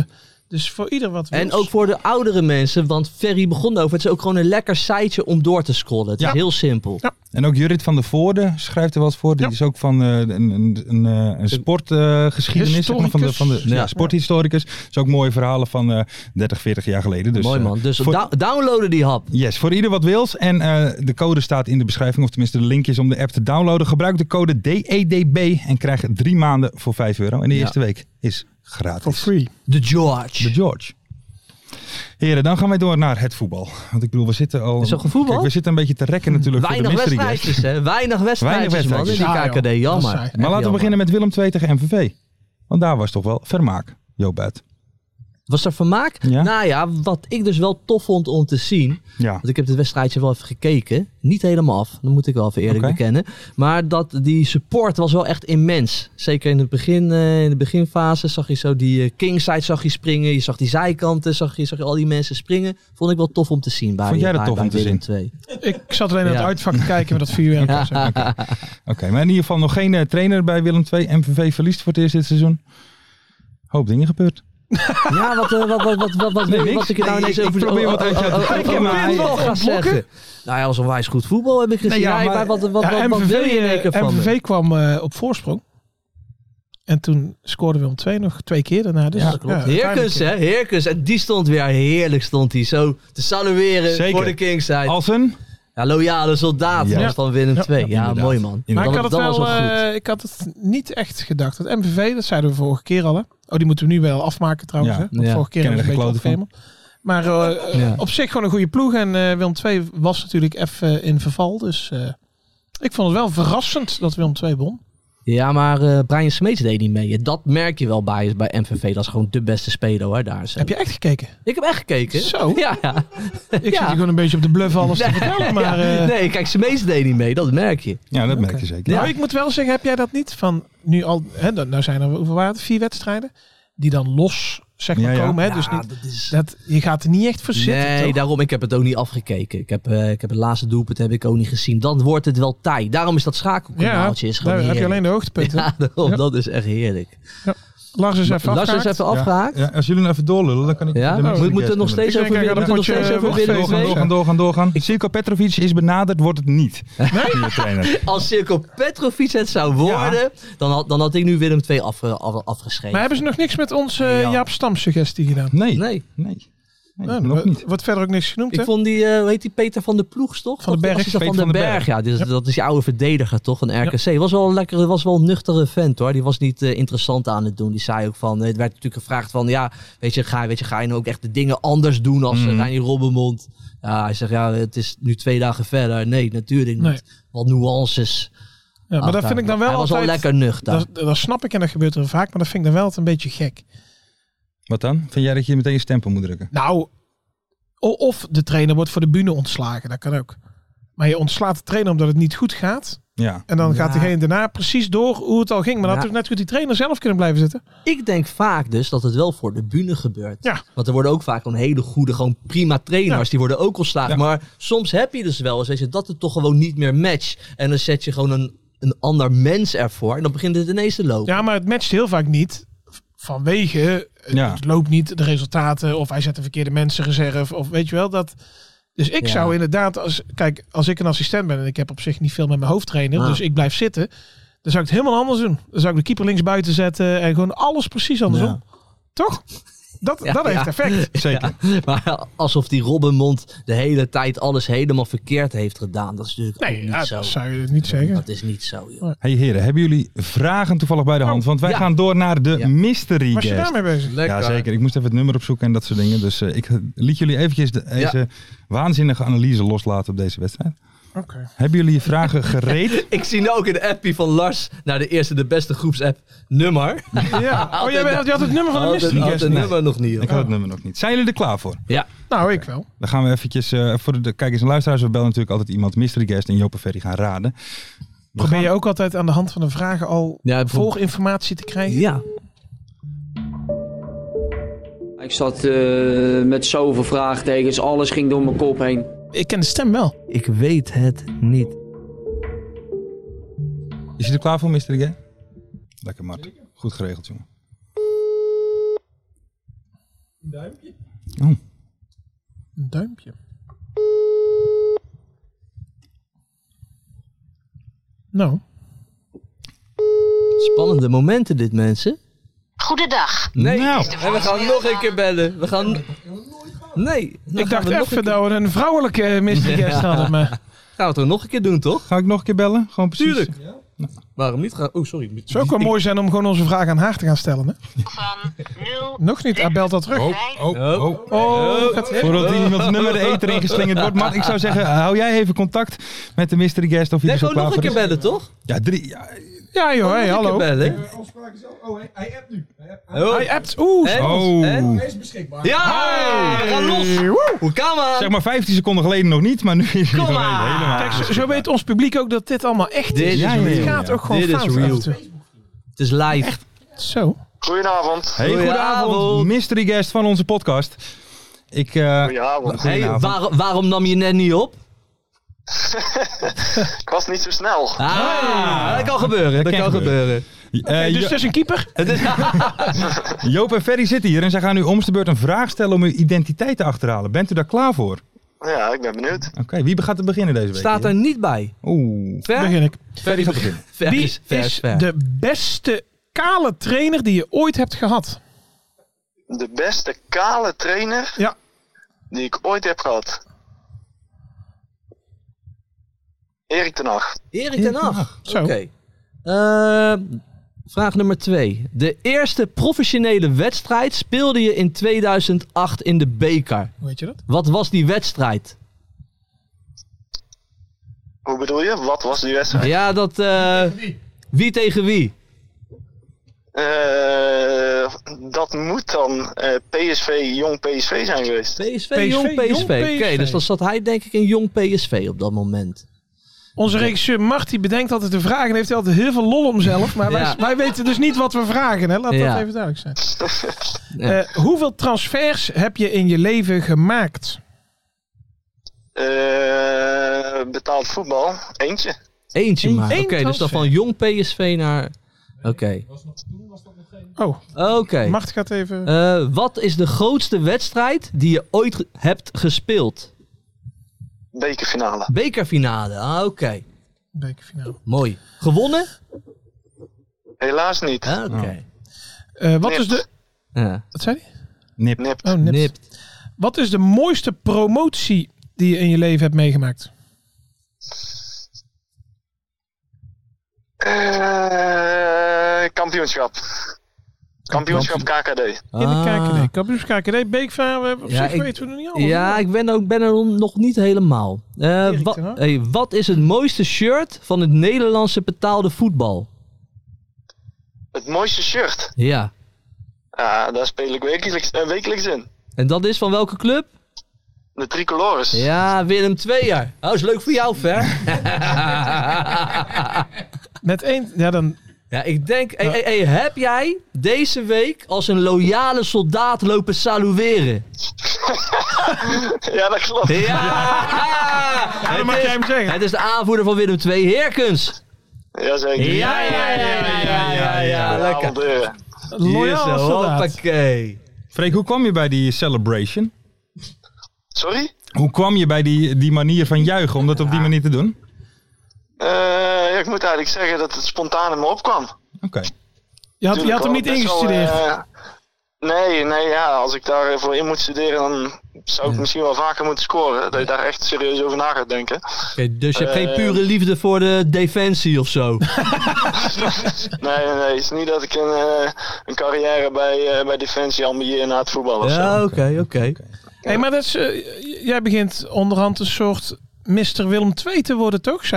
S5: dus voor ieder wat
S4: En
S5: wils.
S4: ook voor de oudere mensen, want Ferry begon over. Het is ook gewoon een lekker siteje om door te scrollen. Het
S5: Ja.
S4: is heel simpel.
S5: Ja.
S3: En ook Jurrit van der Voorde schrijft er wat voor. Die
S5: Ja.
S3: is ook van eh, een, een, een, eh, een sportgeschiedenis. zeg maar, van de, van de, ja,
S5: Historicus.
S3: sporthistoricus. Dus ook mooie verhalen van eh 30, 40 jaar geleden. Dus,
S4: Mooi
S3: eh,
S4: man. Dus
S3: voor-
S4: dou- downloaden die hap.
S3: Yes, voor ieder wat wils. En eh, de code staat in de beschrijving, of tenminste de linkjes om de app te downloaden. Gebruik de code DEDB en krijg drie maanden voor 5 euro. En de
S4: Ja.
S3: eerste week is gratis.
S5: For free.
S4: De
S3: De
S4: George.
S3: George. Heren, dan gaan wij door naar het voetbal. Want ik bedoel, we zitten al...
S4: Is er geen voetbal?
S3: Kijk, we zitten een beetje te rekken natuurlijk
S4: Weinig
S3: voor de mystery guest.
S4: wedstrijdjes, hè? Weinig wedstrijdjes, man. In
S3: wedstrijdjes.
S4: die
S5: Ja, joh.
S4: KKD,
S5: Dat is
S4: jammer.
S5: saai.
S4: Echt
S3: Maar laten we
S4: jammer.
S3: beginnen met Willem II tegen MVV. Want daar was toch wel vermaak, Joop Buit.
S4: Was er vermaak?
S3: Ja.
S4: Nou ja, wat ik dus wel tof vond om te zien.
S3: Ja.
S4: Want ik heb het wedstrijdje wel even gekeken. Niet helemaal af, dat moet ik wel even eerlijk
S3: Oké.
S4: bekennen. Maar dat, die support was wel echt immens. Zeker in, het begin, eh, in de beginfase zag je zo die eh, kingside zag je springen. Je zag die zijkanten, zag je, zag je al die mensen springen. Vond ik wel tof om te zien bij
S3: Vond jij dat
S4: bij-
S3: tof
S4: bij
S3: om te
S4: Willem
S3: zien?
S4: II.
S5: Ik zat alleen naar
S4: Ja.
S5: het uitvak te kijken met dat 4 uur. en dat soort dingen.
S3: Oké, maar in ieder geval nog geen eh, trainer bij Willem II. MVV verliest voor het eerst dit seizoen. Hoop dingen gebeurd.
S4: Ja, wat, eh, wat, wat, wat, wat, wat,
S3: Nee,
S4: wat,
S3: niks.
S4: ik er nou
S3: Nee,
S4: ineens
S3: ik
S4: over oh,
S3: probeer wat uit jou te trekken, maar hij-
S4: wel gaan zeggen. Nou ja, als een wijs goed voetbal heb ik gezien.
S3: ja,
S4: Ja,
S3: maar-
S4: maar wat, wat, wat,
S5: Ja,
S3: eh,
S4: wat
S5: MVV,
S4: wil je in één keer
S5: eh,
S4: van me?
S5: MVV kwam eh, op voorsprong. En toen scoorden we om twee nog twee keer daarna. Dus,
S4: Ja, dat klopt. Heerkens, hè? Heerkens. En die stond weer heerlijk, stond hij zo te salueren
S3: Zeker.
S4: voor de Kingside.
S3: Als een...
S4: Ja, loyale soldaat
S3: Ja.
S4: was van Willem
S5: Ja,
S4: II. Ja,
S3: inderdaad.
S4: mooi man.
S5: Maar ik
S4: Dan-
S5: had, het
S4: dan
S5: wel,
S4: was het goed.
S5: eh, ik had het niet echt gedacht. Het MVV, dat zeiden we vorige keer al. Hè? Oh, die moeten we nu wel afmaken trouwens.
S3: Ja,
S5: hè? Want
S4: ja.
S5: vorige keer
S3: Kennen
S5: hebben we een
S3: er
S5: beetje
S3: geen klote
S5: opgehemeld. Maar eh, eh,
S4: Ja.
S5: op zich gewoon een goede ploeg. En eh Willem II was natuurlijk even in verval. Dus eh, ik vond het wel verrassend dat Willem II won.
S4: Ja, maar eh, Brian Smeets deed niet mee. Dat merk je wel bij, bij MVV. Dat is gewoon de beste speler hoor, daar. Zo.
S5: Heb je echt gekeken?
S4: Ik heb echt gekeken.
S5: Zo.
S4: Ja. ja.
S5: Ik zit hier gewoon een beetje op de bluff alles te vertellen. Maar eh,
S4: Nee, kijk, Smeets deed niet mee. Dat merk je.
S3: Ja, dat merk je zeker.
S5: Nou, ik moet wel zeggen, heb jij dat niet? Van nu al, hè, dan- nou zijn er hoeveel waren het? Vier wedstrijden die dan los zeg maar
S3: Ja, ja.
S5: komen. Hè?
S4: Ja,
S5: dus niet,
S4: dat is...
S5: dat, je gaat er niet echt voor zitten.
S4: nee,
S5: toch?
S4: daarom. Ik heb het ook niet afgekeken. Ik heb, eh, ik heb het laatste doelpunt heb ik ook niet gezien. Dan wordt het wel taai. Daarom is dat
S5: ja,
S4: schakelkanaaltje is gewoon
S5: daar heb je
S4: heerlijk.
S5: alleen de hoogtepunten.
S4: Ja, daarom.
S5: Ja.
S4: Dat is echt heerlijk.
S5: Lars is even
S4: Lars is
S5: afgehaakt.
S4: even
S3: Ja.
S4: afgehaakt.
S3: Ja, als jullie nou even doorlullen, dan kan ik...
S4: Ja,
S3: de mensen
S4: we
S3: die
S4: moeten nog
S3: guesten
S4: steeds
S5: Ik
S4: over
S5: denk
S4: we moeten nog
S5: dat potje,
S4: steeds
S5: eh,
S4: over
S5: wordt
S4: Willem
S3: Doorgaan,
S5: feest,
S4: II.
S3: doorgaan, doorgaan, doorgaan. Silko Petrovic is benaderd, wordt het niet. Nieuwe trainer.
S4: Als Circo Petrovic het zou worden, dan, had, dan had ik nu Willem II af, af- afgeschreven.
S5: Maar hebben ze nog niks met onze
S4: Ja.
S5: Jaap Stam suggestie gedaan?
S3: Nee, nee,
S4: Nee.
S3: nee.
S5: Nou,
S3: nog
S5: wordt-
S3: niet.
S5: Wordt verder ook niks genoemd,
S4: Ik
S5: hè?
S4: vond die, eh, hoe heet die Peter van der Ploeg, toch?
S5: Van den Berg.
S4: Was die
S3: Peter
S4: van den
S3: van den
S4: Berg,
S3: Berg.
S4: ja. Dus, Dat is die oude verdediger, toch, van RKC. Was wel een lekkere, was wel een nuchtere vent, hoor. Die was niet eh, interessant aan het doen. Die zei ook van, eh, het werd natuurlijk gevraagd van, ja, weet je, ga, weet je, ga je nou ook echt de dingen anders doen als mm. Reinier Robbenmond? Ja, hij zegt, ja, het is nu twee dagen verder. Nee, natuurlijk niet.
S5: Nee.
S4: Wat nuances.
S5: Ja, maar dat
S4: Ah,
S5: vind ik dan wel
S4: Hij was wel
S5: altijd...
S4: lekker nuchter.
S5: dat, dat snap ik en dat gebeurt er vaak, maar dat vind ik dan wel altijd een beetje gek.
S3: Wat dan? Vind jij dat je meteen je stempel moet drukken?
S5: Nou, o- of de trainer wordt voor de bühne ontslagen, dat kan ook. Maar je ontslaat de trainer omdat het niet goed gaat.
S3: Ja.
S5: En dan gaat
S4: Ja.
S5: degene daarna precies door hoe het al ging. Maar dan had
S4: Ja.
S5: toch net goed die trainer zelf kunnen blijven zitten.
S4: Ik denk vaak dus dat het wel voor de bühne gebeurt.
S5: Ja.
S4: Want er worden ook vaak gewoon hele goede, gewoon prima trainers. Die worden ook ontslagen.
S3: Ja.
S4: Maar soms heb je dus wel eens weet je, dat het toch gewoon niet meer matcht. En dan zet je gewoon een, een ander mens ervoor. En dan begint het ineens te lopen.
S5: Ja, maar het matcht heel vaak niet. Vanwege, eh,
S3: Ja.
S5: het loopt niet, de resultaten. Of hij zet de verkeerde mensen reserve. Of weet je wel, dat... Dus ik
S4: Ja.
S5: zou inderdaad, als, kijk, als ik een assistent ben en ik heb op zich niet veel met mijn hoofdtrainer,
S4: Ah.
S5: dus ik blijf zitten, dan zou ik het helemaal anders doen. Dan zou ik de keeper links buiten zetten en gewoon alles precies andersom.
S4: Ja.
S5: Toch? Dat,
S4: Ja,
S5: dat heeft
S4: ja.
S5: effect.
S3: Zeker.
S4: Maar alsof die Robbenmond de hele tijd alles helemaal verkeerd heeft gedaan. Dat is natuurlijk ook
S5: Nee,
S4: niet
S5: ja,
S4: zo.
S5: dat zou je niet zeggen.
S4: Dat is niet zo, joh.
S3: Hey heren, hebben jullie vragen toevallig bij de hand? Want wij
S4: ja.
S3: gaan door naar de
S4: Ja.
S3: mystery
S5: Oh, Was je
S3: guest.
S5: daarmee bezig?
S3: Ja, zeker. Ik moest even het nummer opzoeken en dat soort dingen. Dus eh, ik liet jullie eventjes de, deze waanzinnige analyse loslaten op deze wedstrijd.
S5: Oké.
S3: Hebben jullie je vragen gereed?
S4: Ik zie nu ook in de appie van Lars naar de eerste de beste groepsapp nummer.
S5: Ja. Oh, jij bent- je had het nummer van de
S4: Had het,
S5: mystery
S4: had
S5: guest.
S4: het
S3: nee.
S4: nummer nog niet. hoor.
S3: ik had het nummer nog niet. Zijn jullie er klaar voor?
S4: Ja.
S5: Nou, ik wel.
S3: Dan gaan we eventjes, eh, voor de kijkers en luisteraars, we bellen natuurlijk altijd iemand mystery guest en Joop en Ferry gaan raden. We
S5: Probeer
S3: gaan-
S5: je ook altijd aan de hand van de vragen al
S4: Ja, bijvoorbeeld-
S5: volginformatie te krijgen?
S4: Ja.
S6: Ik zat eh, met zoveel vraagtekens, alles ging door mijn kop heen.
S5: Ik ken de stem wel.
S4: Ik weet het niet.
S3: Is je er klaar voor, mystery guest? Lekker, Mart. Goed geregeld, jongen. duimpje.
S5: Een duimpje. Nou,
S4: Spannende momenten dit, mensen.
S7: Goedendag.
S4: Nee.
S3: Nou.
S4: En we gaan nog een keer bellen. We gaan... Nee. dan
S5: ik
S4: gaan we nog
S5: dacht
S4: een
S5: even
S4: keer-
S5: dat we een vrouwelijke eh, mystery guest hadden, maar
S4: Gaan we het er nog een keer doen, toch?
S3: Ga ik nog een keer bellen? Gewoon precies.
S4: Tuurlijk. Waarom niet gaan... Oh, sorry.
S5: het zou ook wel mooi zijn om gewoon onze vraag aan haar te gaan stellen. Hè?
S7: Van 0
S5: Nog niet, hij belt al terug.
S3: Oh, oh, oh.
S5: Oh, gaat-
S3: Voordat iemands nummer de eter ingeslingerd wordt. Maar ik zou zeggen, hou jij even contact met de mystery guest of je
S4: Nee,
S3: er zo
S4: gewoon
S3: klaar
S4: nog een
S3: voor
S4: keer
S3: is.
S4: bellen, toch?
S3: Ja, drie. Ja,
S5: Ja joh, hey,
S4: Nog een
S5: hallo.
S4: keer bellen.
S5: Oh,
S4: Oh,
S5: Hij appt, oeh.
S4: En?
S3: oh.
S4: En? Ja! We gaan Ah, los! Hoe kan maar?
S3: Zeg maar 15 seconden geleden nog niet, maar nu is het
S4: Kom
S3: ineens
S4: maar.
S3: helemaal.
S5: Kijk, zo, zo weet ons publiek ook dat dit allemaal echt
S4: eh, Dit
S5: is.
S4: is
S3: Ja, ja,
S5: Het
S3: ja.
S5: gaat ook gewoon
S4: Dit is
S5: fout. af en
S4: real.
S5: toe.
S4: Het is live.
S5: Zo.
S8: Goedenavond.
S3: Hey, goedenavond.
S4: Goedenavond.
S3: Mystery guest van onze podcast. Ik, eh,
S8: Goedenavond.
S4: Hey,
S3: goedenavond.
S4: waar- waarom nam je net niet op?
S8: Ik was niet zo snel.
S4: Ah, dat kan gebeuren. Dat
S3: kan
S4: kan gebeuren.
S3: eh,
S5: Hey, dus
S3: Jo-
S5: het is een keeper?
S4: Het is-
S3: Joop en Ferry zitten hier en zij gaan u om de beurt een vraag stellen om uw identiteit te achterhalen. Bent u daar klaar voor?
S8: Ja, ik ben benieuwd.
S3: Oké, wie gaat er beginnen deze week?
S4: Staat er niet bij.
S3: Oeh,
S4: Ver?
S5: Begin ik.
S3: Ferry gaat beginnen.
S4: Ver
S5: Wie
S4: is, ver
S5: is
S4: is ver.
S5: de beste kale trainer die je ooit hebt gehad?
S8: De beste kale trainer
S5: Ja.
S8: die ik ooit heb gehad. Erik ten Hag.
S4: Erik ten Hag. Oké.
S5: Zo.
S4: Eh, vraag nummer twee. De eerste professionele wedstrijd speelde je in 2008 in de beker.
S5: Hoe weet je dat?
S4: Wat was die wedstrijd?
S8: Hoe bedoel je? Wat was die wedstrijd?
S4: Ja, dat... eh, wie tegen wie?
S8: Eh, dat moet dan eh, PSV, jong PSV zijn geweest. Eh,
S4: PSV, jong
S5: PSV, jong
S4: PSV. Oké,
S5: PSV.
S4: dus dan zat hij denk ik in jong PSV op dat moment.
S5: Onze regisseur Marty bedenkt altijd de vragen en heeft hij altijd heel veel lol om zelf. Maar
S4: Ja.
S5: wij, wij weten dus niet wat we vragen. Hè? Laat
S4: Ja.
S5: dat even duidelijk zijn.
S4: Ja.
S5: Eh, hoeveel transfers heb je in je leven gemaakt?
S8: Eh, betaald voetbal, eentje.
S4: Eentje
S5: Eén-
S4: maar. Oké,
S5: één
S4: dus dan
S5: transfer.
S4: van jong PSV naar... Oké.
S5: Oh,
S4: Oké.
S5: Mart gaat even...
S4: Eh, wat is de grootste wedstrijd die je ooit ge- hebt gespeeld?
S8: Bekerfinale.
S4: Bekerfinale. Ah, oké.
S5: Bekerfinale.
S4: Mooi. Gewonnen?
S8: Helaas niet.
S4: Ah, oké.
S5: Eh, wat is
S8: Nipt.
S5: de...
S4: Ja.
S5: Wat zei hij?
S3: Nip.
S8: Nipt.
S5: Oh, nipt.
S4: Nipt.
S5: Wat is de mooiste promotie die je in je leven hebt meegemaakt?
S8: Eh, kampioenschap. Kampioenschap KKD.
S5: In de
S4: Ah.
S5: KKD. Kampioens KKD, Beekvaar, we hebben op
S4: Ja,
S5: zich
S4: ik-
S5: weten we er niet al.
S4: Ja, ik ben, ook, ben er nog niet helemaal. Eh,
S5: Erik
S4: wa-
S5: ten Hag?
S4: hey, wat is het mooiste shirt van het Nederlandse betaalde voetbal?
S8: Het mooiste shirt.
S4: Ja.
S8: Ah, daar speel ik wekelijks, eh, wekelijks in.
S4: En dat is van welke club?
S8: De tricolores.
S4: Ja, Willem Tweeër. Oh, is leuk voor jou, Ver.
S5: Met één... Ja, dan...
S4: Ja, ik denk... hey, hey, hey, heb jij deze week als een loyale soldaat lopen salueren?
S8: Ja, dat klopt.
S4: Ja!
S5: dan
S4: het,
S5: mag jij
S4: is,
S5: hem zeggen.
S4: het is de aanvoerder van Willem II, Heerkens.
S8: Jazeker.
S4: Ja, ja, ja, ja, ja, ja, ja.
S8: Lekker.
S4: Lekker.
S5: Loyaal
S4: Hier zo,
S5: soldaat.
S4: Hoppakee.
S3: Freek, hoe kwam je bij die celebration?
S8: Sorry?
S3: Hoe kwam je bij die, die manier van juichen om dat op die manier te doen?
S8: Eh, ja, ik moet eigenlijk zeggen dat het spontaan in me opkwam.
S3: Oké.
S5: Je had, je had hem niet
S8: Best wel,
S5: ingestudeerd.
S8: eh, nee, nee, ja. Als ik daarvoor in moet studeren, dan zou ik misschien wel vaker moeten scoren. Dat je daar echt serieus over na gaat denken.
S4: Oké, dus je hebt geen
S8: Eh.
S4: pure liefde voor de defensie of zo?
S8: Nee, nee, nee. Het is niet dat ik een, eh, een carrière bij, eh, bij Defensie ambieer na het voetbal of zo.
S4: Ja, oké, oké.
S5: Hey, maar dat is, eh, j- jij begint onderhand een soort Mr. Willem II te worden, toch zo?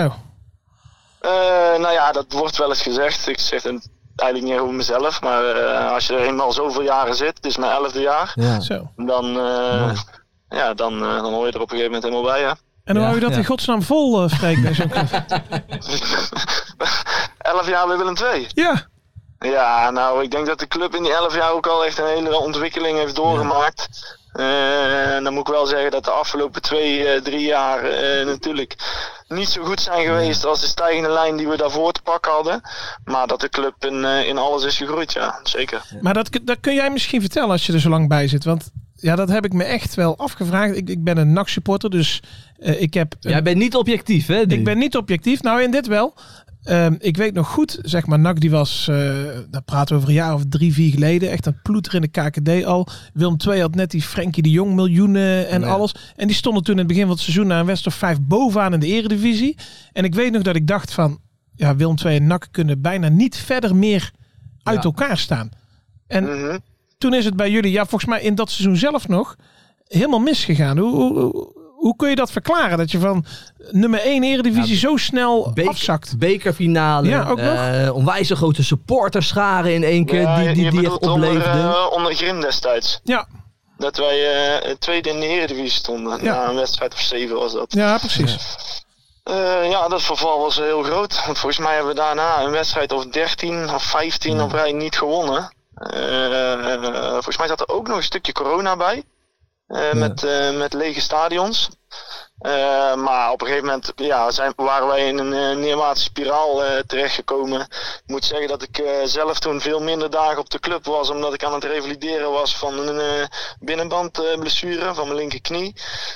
S8: Eh, nou ja, dat wordt wel eens gezegd. Ik zeg het eigenlijk niet over mezelf. Maar eh, als je er eenmaal zoveel jaren zit, het is mijn elfde jaar.
S4: Ja.
S5: zo.
S8: Dan, eh, ja, dan, eh, dan hoor je er op een gegeven moment helemaal bij, ja.
S5: En dan
S4: Ja,
S5: wou je dat
S4: ja.
S5: in godsnaam vol eh spreken bij zo'n club.
S8: Elf jaar bij Willem II.
S5: Ja,
S8: Ja, nou, ik denk dat de club in die 11 jaar ook al echt een hele ontwikkeling heeft doorgemaakt. Eh, en dan moet ik wel zeggen dat de afgelopen twee, eh, drie jaar eh, natuurlijk niet zo goed zijn geweest als de stijgende lijn die we daarvoor te pakken hadden. Maar dat de club in, eh, in alles is gegroeid, ja, zeker.
S5: maar dat, kun- dat kun jij misschien vertellen als je er zo lang bij zit. Want ja, dat heb ik me echt wel afgevraagd. Ik, ik ben een NAC-supporter, dus eh, ik heb... een-
S4: Jij bent niet objectief, hè? nu?
S5: ik ben niet objectief. Nou, in dit wel. Ehm, ik weet nog goed, zeg maar, NAC die was, eh daar praten we over een jaar of drie, vier geleden, echt een ploeter in de KKD al. Willem II had net die Frenkie de Jong miljoenen en alles. En die stonden toen in het begin van het seizoen naar een West of 5 bovenaan in de eredivisie. En ik weet nog dat ik dacht van, ja, Willem II en NAC kunnen bijna niet verder meer uit
S4: Ja. Mm.
S5: elkaar staan. En
S4: Hm.
S8: Mhm.
S5: toen is het bij jullie, ja, volgens mij in dat seizoen zelf nog, helemaal misgegaan. Hoe, hoe, hoe, hoe kun je dat verklaren? Dat je van nummer 1 Eredivisie zo snel
S4: Beker-
S5: afzakt.
S4: Bekerfinale.
S5: Ja, ook nog.
S4: eh, onwijs een grote supporterscharen in één keer.
S8: Ja,
S4: die die,
S8: je
S4: die echt
S8: bedoelt onder,
S4: opleefde.
S8: eh, onder Grim destijds.
S5: Ja,
S8: Dat wij eh, tweede in de Eredivisie stonden.
S5: Ja.
S8: Na een wedstrijd of zeven was dat.
S5: ja precies.
S8: Eh, ja, dat verval was heel groot. Want volgens mij hebben we daarna een wedstrijd of 13 of 15 op rij niet gewonnen. Eh, eh, volgens mij zat er ook nog een stukje corona bij. Eh, met, eh, met lege stadions. Eh, maar op een gegeven moment ja, zijn, waren wij in een eh, neerwaartse spiraal eh, terechtgekomen. Ik moet zeggen dat ik eh, zelf toen veel minder dagen op de club was. Omdat ik aan het revalideren was van een eh, binnenbandblessure van mijn linkerknie.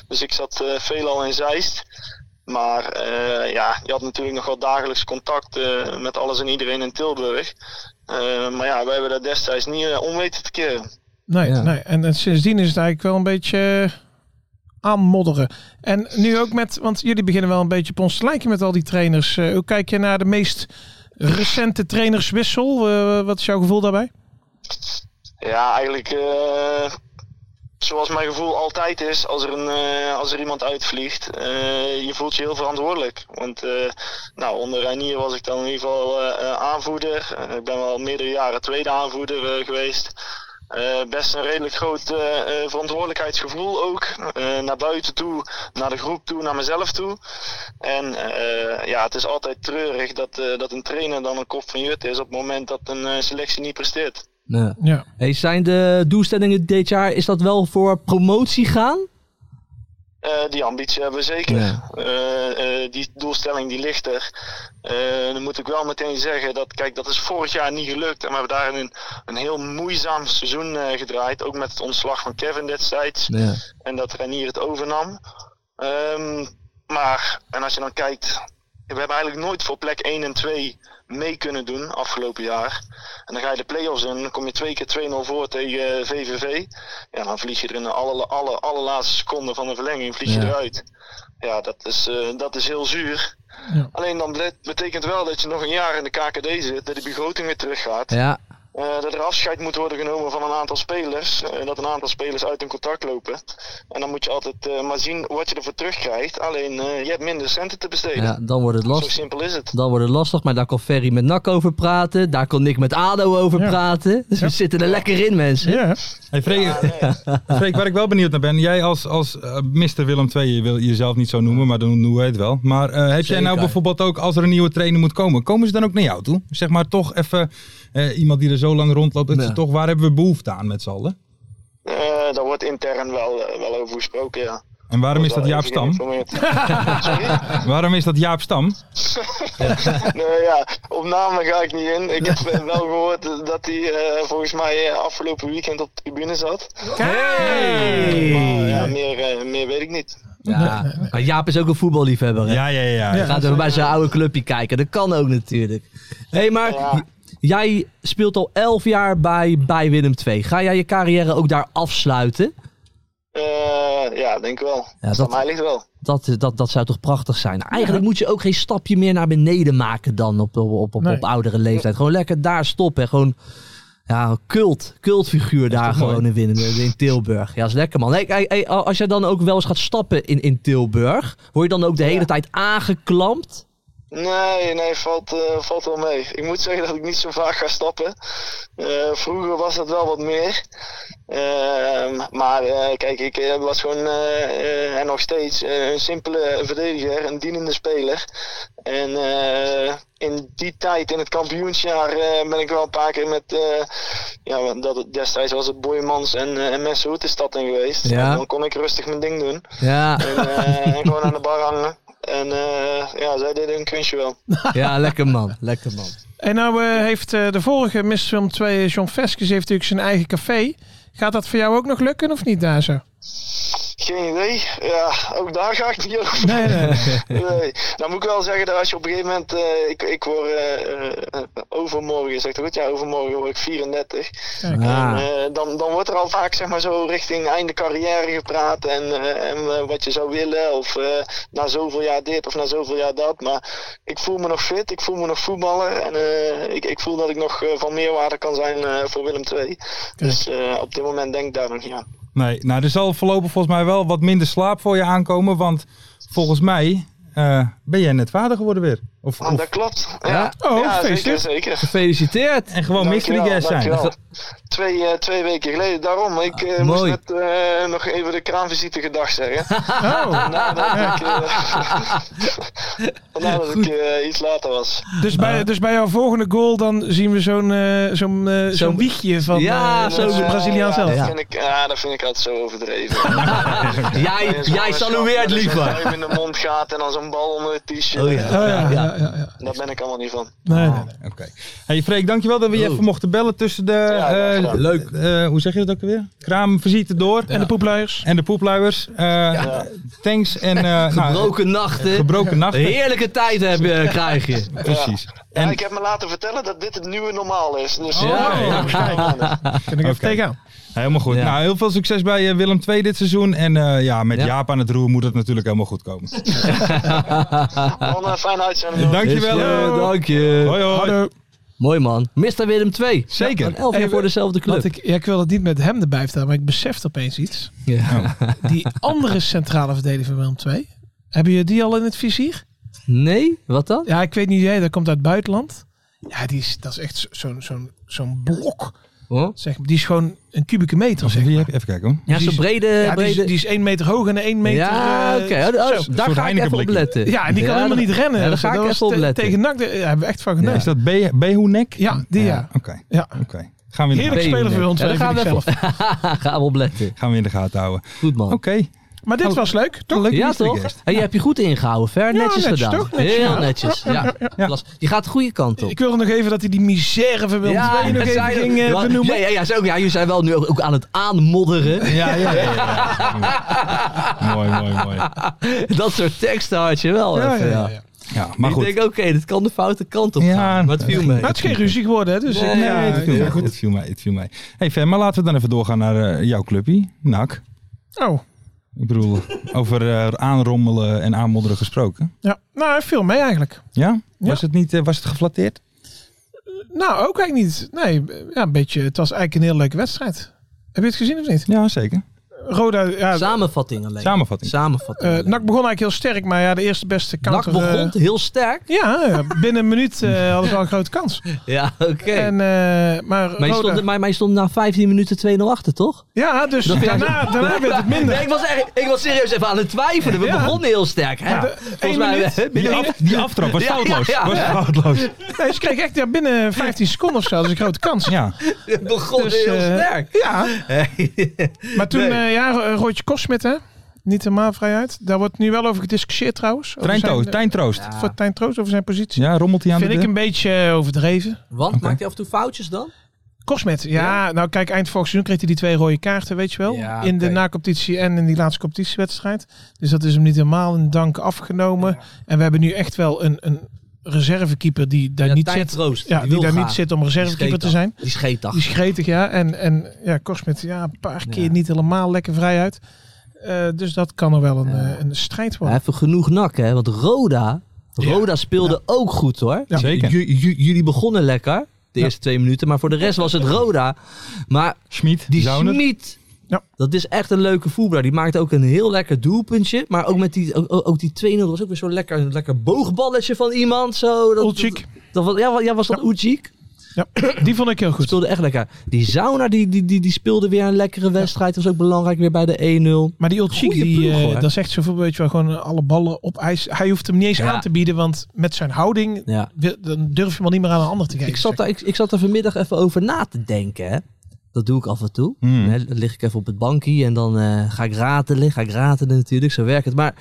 S8: Dus ik zat eh, veelal in Zeist. Maar eh, ja, je had natuurlijk nog wel dagelijks contact eh, met alles en iedereen in Tilburg. Eh, Eh, maar ja, wij hebben daar destijds niet eh, om weten te keren.
S5: Nee,
S4: Ja.
S5: nee. En, en sindsdien is het eigenlijk wel een beetje eh, aanmodderen. En nu ook met, want jullie beginnen wel een beetje op ons te lijken met al die trainers. Eh, hoe kijk je naar de meest recente trainerswissel? Eh, wat is jouw gevoel daarbij?
S8: Ja, eigenlijk eh, zoals mijn gevoel altijd is als er, een, eh, als er iemand uitvliegt. eh, je voelt je heel verantwoordelijk. Want eh, nou, onder Reinier was ik dan in ieder geval eh, eh, aanvoerder. Eh, ik ben wel meerdere jaren tweede aanvoerder eh, geweest. Eh, best een redelijk groot eh, eh, verantwoordelijkheidsgevoel ook. Eh, naar buiten toe, naar de groep toe, naar mezelf toe. En eh, ja, het is altijd treurig dat, eh, dat een trainer dan een kop van jut is op het moment dat een eh, selectie niet presteert.
S4: Ja.
S5: Ja.
S4: Hey, zijn de doelstellingen dit jaar, is dat wel voor promotie gaan?
S8: Eh, die ambitie hebben we zeker.
S4: Ja.
S8: Eh, eh, die doelstelling die ligt er. Eh, dan moet ik wel meteen zeggen dat, kijk, dat is vorig jaar niet gelukt. En we hebben daarin een, een heel moeizaam seizoen eh, gedraaid. Ook met het ontslag van Kevin destijds.
S4: Ja.
S8: En dat Renier het overnam. Ehm, maar, en als je dan kijkt. We hebben eigenlijk nooit voor plek 1 en 2 mee kunnen doen afgelopen jaar. En dan ga je de play-offs in. Dan kom je twee keer 2-0 voor tegen eh, VVV. Ja, dan vlieg je er in de alle, alle, allerlaatste seconde van de verlenging vlieg je
S4: Ja.
S8: eruit. Ja, dat is, eh, dat is heel zuur.
S5: Ja.
S8: Alleen dan ble- betekent wel dat je nog een jaar in de KKD zit. Dat de begroting weer teruggaat.
S4: Ja.
S8: Eh, dat er afscheid moet worden genomen van een aantal spelers. eh, en dat een aantal spelers uit hun contract lopen. En dan moet je altijd eh, maar zien wat je ervoor terugkrijgt. Alleen eh, je hebt minder centen te besteden.
S4: ja, dan wordt het
S8: Zo
S4: lastig.
S8: simpel is het.
S4: Dan wordt het lastig, maar daar kan Ferry met Nak over praten. Daar kan Nick met Ado over
S5: Ja.
S4: praten. Dus we zitten er lekker in, mensen.
S5: Ja.
S3: Hey, Freek, Freek, waar ik wel benieuwd naar ben. Jij als, als eh, Mr. Willem II, je wil jezelf niet zo noemen, maar dan noemen wij het wel. Maar eh, heb jij nou
S4: Zeker.
S3: bijvoorbeeld ook, als er een nieuwe trainer moet komen, komen ze dan ook naar jou toe? Zeg maar toch even eh, iemand die er zo lang rondloopt, dat
S4: Ja.
S3: ze toch, waar hebben we behoefte aan met z'n allen?
S8: Eh, daar wordt intern wel, eh, wel over gesproken, ja.
S3: En
S8: Oh,
S3: waarom is dat Jaap Stam? Waarom is dat Jaap Stam?
S8: nee, ja, op namen ga ik niet in. Ik heb eh, wel gehoord eh, dat hij eh, volgens mij eh, afgelopen weekend op de tribune zat. Maar ja, meer, eh, meer weet ik niet.
S4: Ja. Maar Jaap is ook een voetballiefhebber. Hè?
S3: Ja, ja, ja.
S4: Hij gaat even bij zijn oude clubje kijken. Dat kan ook natuurlijk. Hé, hey, maar
S8: Ja.
S4: j- jij speelt al 11 jaar bij, bij Willem II. Ga jij je carrière ook daar afsluiten?
S8: Eh, ja, denk ik wel.
S4: Ja,
S8: Voor
S4: dat,
S8: mij ligt wel.
S4: dat, dat, dat zou toch prachtig zijn? Nou, Eigenlijk moet je ook geen stapje meer naar beneden maken dan op, op, op, op,
S5: Nee.
S4: op oudere leeftijd. Gewoon lekker daar stoppen. Gewoon ja, cult, cultfiguur daar gewoon in, winnen, in Tilburg. Ja, is lekker man. Hey, hey, hey, als jij dan ook wel eens gaat stappen in, in Tilburg, word je dan ook de hele tijd aangeklampt?
S8: Nee, nee, valt, eh, valt wel mee. Ik moet zeggen dat ik niet zo vaak ga stappen. Eh, vroeger was dat wel wat meer. Ehm, maar eh, kijk, ik eh, was gewoon, eh, eh, en nog steeds, eh, een simpele verdediger, een dienende speler. En eh, in die tijd, in het kampioensjaar, eh, ben ik wel een paar keer met, eh, ja, want dat, destijds was het Boymans en, eh, en Messehoed de stad in geweest.
S4: Ja.
S8: En dan kon ik rustig mijn ding doen.
S4: Ja,
S8: En, eh, en gewoon aan de bar hangen. En eh, ja, zij deden hun kunstje wel.
S4: ja, lekker man. Lekker man.
S5: En nou eh, heeft eh, de vorige Mr. Film 2, John Veskes, heeft natuurlijk zijn eigen café. Gaat dat voor jou ook nog lukken of niet daar zo?
S8: Geen idee. Ja, ook daar ga ik niet over.
S5: Nee, nee.
S8: Nee. Nou moet ik wel zeggen dat als je op een gegeven moment... eh, ik, ik word eh, eh, overmorgen, zegt goed? Ja, overmorgen word ik 34. En,
S4: Ja.
S8: eh, dan, dan wordt er al vaak zeg maar zo richting einde carrière gepraat en, eh, en eh, wat je zou willen of eh, na zoveel jaar dit of na zoveel jaar dat. Maar ik voel me nog fit, ik voel me nog voetballer en eh, ik, ik voel dat ik nog eh, van meerwaarde kan zijn eh, voor Willem II. Dus eh, op dit moment denk ik daar nog niet aan.
S3: Nee, nou er zal voorlopig volgens mij wel wat minder slaap voor je aankomen, want volgens mij eh, ben jij net vader geworden weer. Of,
S8: Ah,
S3: of-
S8: dat klopt. Ja,
S5: Oh,
S8: ja zeker,
S5: feestje.
S8: zeker.
S4: Gefeliciteerd.
S3: en gewoon mystery
S8: Dankjewel,
S3: guest zijn.
S8: dankjewel. Twee, eh, twee weken geleden, daarom. Ik eh, moest
S4: mooi.
S8: net eh, nog even de kraanvisite gedag zeggen.
S5: Oh.
S8: Vandaar dat ik, eh, vandaar dat ik eh, iets later was.
S5: Dus bij, dus bij jouw volgende goal dan zien we zo'n eh, zo'n eh, zo'n
S4: Zo'n-
S5: wiegje van eh,
S4: Ja,
S5: ja,
S4: zo'n-
S5: zo'n Braziliaan zelf.
S8: eh, Ja,
S4: Ja.
S8: dat vind ik, ja, dat vind ik altijd zo overdreven.
S4: Jij, jij salueert
S8: Dat
S4: liever.
S8: in de mond gaat en dan zo'n bal onder het t-shirt.
S4: Oh ja.
S5: Oh, ja,
S4: Ja.
S5: ja, ja, ja.
S8: Daar ben ik allemaal niet van.
S5: Nee, nee, nee.
S3: Oké. Hey Freek, dankjewel dat we je
S4: Oh.
S3: even mochten bellen tussen de...
S8: graag
S3: eh,
S8: gedaan.
S3: leuk. eh, hoe zeg je dat ook weer? Kraamvisite door
S5: En de poepluiers.
S3: en de poepluiers. Eh, Thanks en... eh, nou,
S4: Gebroken nachten.
S3: gebroken nachten.
S4: Heerlijke tijd heb je, krijg je.
S3: Precies.
S8: Ja,
S3: En- Oh,
S8: ik heb me laten vertellen dat dit het nieuwe normaal is. Dus,
S5: Ja,
S8: eh,
S5: ja.
S8: kijk aan het.
S5: Kun ik even
S3: Oké.
S5: tegenaan.
S3: helemaal goed.
S4: Ja.
S3: Nou, heel veel succes bij eh, Willem II dit seizoen. En eh, ja, met
S4: Ja.
S3: Jaap aan het roer moet het natuurlijk helemaal goed komen.
S8: Wel een fijne uitzending. jongens.
S3: Dankjewel.
S5: eh,
S4: Is goed,
S3: eh,
S4: dank je.
S3: Hoi, hoi.
S5: Hallo.
S4: Mooi man. Mr. Willem 2.
S3: Zeker.
S4: elf jaar
S5: Even-
S4: voor dezelfde club.
S5: Want ik, ja, ik wil het niet met hem erbij vertellen, maar ik besefte opeens iets.
S4: Ja.
S5: Die andere centrale verdediger van Willem II, hebben je die al in het vizier?
S4: Nee? Wat dan?
S5: Ja, ik weet niet, jij, dat komt uit het buitenland. Ja, die is, dat is echt zo- zo'n zo'n zo'n blok.
S4: Hoor?
S5: Zeg, maar. die is gewoon een kubieke meter. Zeg.
S3: Wie heb je? Even kijken hoor.
S4: Ja,
S5: Die
S4: zo'n
S5: is-
S4: brede...
S5: Ja, die, is,
S4: brede...
S5: die is 1 meter hoog en 1 meter...
S4: ja,
S5: eh,
S4: oké. Oh,
S5: zo.
S4: oh, daar
S3: soort
S4: ga ik even op
S3: Heineken-blikje.
S4: letten.
S5: Ja, en die kan helemaal
S4: dat-
S5: niet rennen.
S4: Ja, daar
S5: Dus
S4: ga ik
S5: was
S4: even op
S5: te-
S4: letten.
S5: Tegen NAC, daar hebben we echt van
S3: Ja, Is dat
S5: genoten.
S3: Be- Behoenek?
S5: Ja, die ja.
S3: Oké,
S5: Ja.
S3: oké. Gaan we in de
S5: Heerlijk
S3: gaten-
S5: spelen voor ons
S4: Ja, daar
S5: twee,
S4: gaan we
S5: vind ik
S4: even gaan we op letten.
S3: Gaan we in de gaten houden.
S4: Goed man.
S3: Oké.
S5: Maar
S4: Oh,
S5: dit was leuk, toch?
S3: Leuk
S4: Ja, toch? En je hebt je goed ingehouden, Ver. netjes,
S5: netjes
S4: gedaan.
S5: toch? Netjes
S4: Heel
S5: gedaan.
S4: netjes. Ja.
S3: Ja.
S4: Klas. Je gaat de goede kant op.
S5: Ik wilde nog even dat hij die misère van Willem
S4: ja,
S5: II nog
S4: dat
S5: even
S4: zei-
S5: ging eh,
S4: Ja,
S5: benoemen.
S4: Ja, ja, ja, zo- ja, jullie zijn wel nu ook, ook aan het aanmodderen.
S3: Ja, ja, ja. ja. mooi, mooi, mooi.
S4: Dat soort teksten had je wel.
S5: Ja,
S4: even,
S5: ja,
S4: ja.
S5: ja, ja.
S3: Ja, maar goed.
S4: Ik denk, oké, dit kan de foute kant op
S3: Ja,
S4: gaan. Maar het viel
S3: dat-
S4: mee.
S5: Maar het is geen ruzie geworden, hè? Dus ik-
S4: Nee,
S3: Nee,
S5: ja,
S3: het viel
S5: ja,
S3: mij,
S5: goed.
S3: het viel mij, het viel mij. hey, Fem, maar laten we dan even doorgaan naar eh, jouw clubje, NAC.
S5: Oh,
S3: Ik bedoel, over eh, aanrommelen en aanmodderen gesproken.
S5: ja. Nou, het viel mee eigenlijk.
S3: Ja?
S5: Ja.
S3: Was het niet, eh, was het geflatteerd?
S5: Nou, ook eigenlijk niet. Nee, ja, een beetje. Het was eigenlijk een heel leuke wedstrijd. Heb je het gezien of niet?
S3: Ja, zeker.
S5: Roda, ja.
S4: Samenvatting alleen.
S3: Samenvatting.
S4: Samenvatting.
S5: eh,
S4: alleen.
S5: NAC begon eigenlijk heel sterk, maar ja, de eerste beste
S4: Nak
S5: counter...
S4: begon
S5: eh,
S4: heel sterk.
S5: ja, ja, binnen een minuut eh, hadden ze wel een grote kans.
S4: Ja, oké.
S5: En, eh, maar
S4: Maar je,
S5: Roda-
S4: stond, maar, maar je stond na 15 minuten 2-0 achter, toch?
S5: Ja, dus
S4: Dat-
S5: daarna, daarna werd het minder.
S4: Nee, ik, was echt, ik was serieus even aan het twijfelen. We
S5: Ja.
S4: begonnen heel sterk. Hè?
S5: de-
S4: Volgens
S5: één
S4: mij
S5: minuut,
S4: hè,
S3: Die,
S4: binnen-
S3: af- die aftrap was
S4: Ja, ja,
S3: foutloos.
S4: ja.
S3: Was foutloos.
S5: Nee, ze kreeg echt ja, binnen 15 seconden of zo. Dat is een grote kans.
S3: Ja.
S4: begonnen
S5: Dus,
S4: heel
S5: eh,
S4: sterk.
S5: Ja, maar toen,
S4: Nee.
S5: eh, ja, Ro- Roodje Kosmit, hè? Niet helemaal vrij uit. Daar wordt nu wel over gediscussieerd trouwens. Over
S3: Trein
S5: zijn,
S3: Troost,
S5: eh,
S3: Tijn Troost.
S4: Ja.
S5: Voor Tijn Troost, over zijn positie.
S3: Ja, rommelt hij aan
S5: Vind
S3: de
S5: ik
S3: deur?
S5: een beetje eh, overdreven.
S4: Want maakt hij af en toe foutjes dan?
S5: Kosmet, ja, nou kijk, eind vorig seizoen kreeg hij die twee rode kaarten, weet je wel.
S4: Ja,
S5: in de
S4: oké.
S5: na-competitie en in die laatste competitiewedstrijd. Dus dat is hem niet helemaal in dank afgenomen. En we hebben nu echt wel een, een reservekeeper die daar
S4: Ja,
S5: niet
S4: Tijn
S5: zit.
S4: Troost,
S5: ja,
S4: die
S5: die,
S4: wil
S5: daar
S4: graag.
S5: niet zit om reservekeeper te zijn.
S4: Die scheetdag.
S5: Die is gretig, ja. En, en ja, Korsmet, ja, een paar keer niet helemaal lekker vrij uit. Eh, dus dat kan er wel een, eh, een strijd worden.
S4: Even genoeg nak, hè? Want Roda, Roda speelde ook goed, hoor.
S5: Ja.
S3: Zeker.
S4: J- j- jullie begonnen lekker, de eerste twee minuten. Maar voor de rest was het Roda. Maar
S3: Schmid,
S4: die
S3: Zauner.
S4: Schmid,
S5: Ja.
S4: dat is echt een leuke voetballer. Die maakte ook een heel lekker doelpuntje. Maar ook, met die, ook, ook- ook die 2-0 was ook weer zo'n lekker, lekker boogballetje van iemand. Zo, dat,
S5: Ulchik.
S4: Dat, was- ja, wa- ja, was dat Ulchik?
S5: Ja, die vond ik heel goed.
S4: Speelde echt lekker. Die Zauna, die, die, die, die speelde weer een lekkere wedstrijd. Dat was ook belangrijk weer bij de E 1-0.
S5: Maar die Old Cheek,
S4: Goeie
S5: die,
S4: ploeg,
S5: eh,
S4: hoor.
S5: dat zegt zoveel, weet je wel, gewoon alle ballen op ijs. Hij hoeft hem niet eens
S4: Ja.
S5: aan te bieden, want met zijn houding,
S4: Ja.
S5: wil- dan durf je hem al niet meer aan een ander te geven.
S4: Ik zat, daar, ik, ik zat er vanmiddag even over na te denken. Hè. Dat doe ik af en toe.
S3: Hmm.
S4: Hè, dan lig ik even op het bankje en dan eh, ga ik ratelen. Ga ik ratelen natuurlijk, zo werkt het. Maar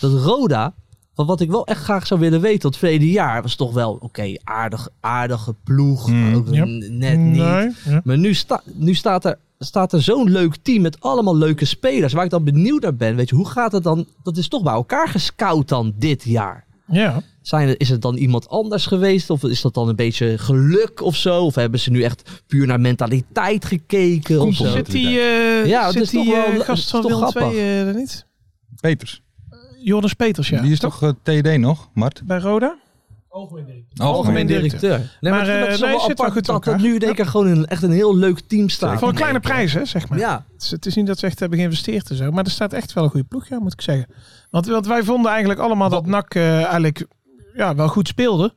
S4: dat Roda, wat, wat ik wel echt graag zou willen weten, dat verleden jaar was toch wel, oké, aardig, aardige ploeg.
S3: Hmm.
S4: maar ook
S5: Ja.
S4: n- net niet.
S5: Nee, ja.
S4: Maar nu, sta, nu staat er, staat er zo'n leuk team met allemaal leuke spelers. Waar ik dan benieuwd naar ben, weet je, hoe gaat het dan? Dat is toch bij elkaar gescout dan dit jaar.
S5: Ja.
S4: Zijn er, is het dan iemand anders geweest? Of is dat dan een beetje geluk of zo? Of hebben ze nu echt puur naar mentaliteit gekeken? Of zo?
S5: Zit die, eh
S4: Ja, dat
S5: zit
S4: is toch
S5: die eh,
S4: wel- dat
S5: gast
S4: is
S5: van
S4: toch
S5: Willem
S4: grappig.
S5: II eh, er niet?
S3: Peters.
S5: Joris Peters, ja.
S3: Die is toch eh, TD nog, Mart?
S5: Bij Roda?
S4: Algemeen directeur. Nee, maar,
S5: Maar,
S4: ik vind
S5: eh,
S4: dat zo
S5: nee,
S4: wel
S5: zit wel
S4: apart
S5: goed in
S4: dat dat
S5: elkaar.
S4: nu in één keer gewoon een, echt een heel leuk team staat.
S5: Voor een kleine prijs, hè, zeg maar.
S4: Ja,
S5: Dus Het is, het is niet dat ze echt hebben geïnvesteerd en zo. Maar er staat echt wel een goede ploeg, ja, moet ik zeggen. Want, want wij vonden eigenlijk allemaal dat NAC eh, eigenlijk ja, wel goed speelde.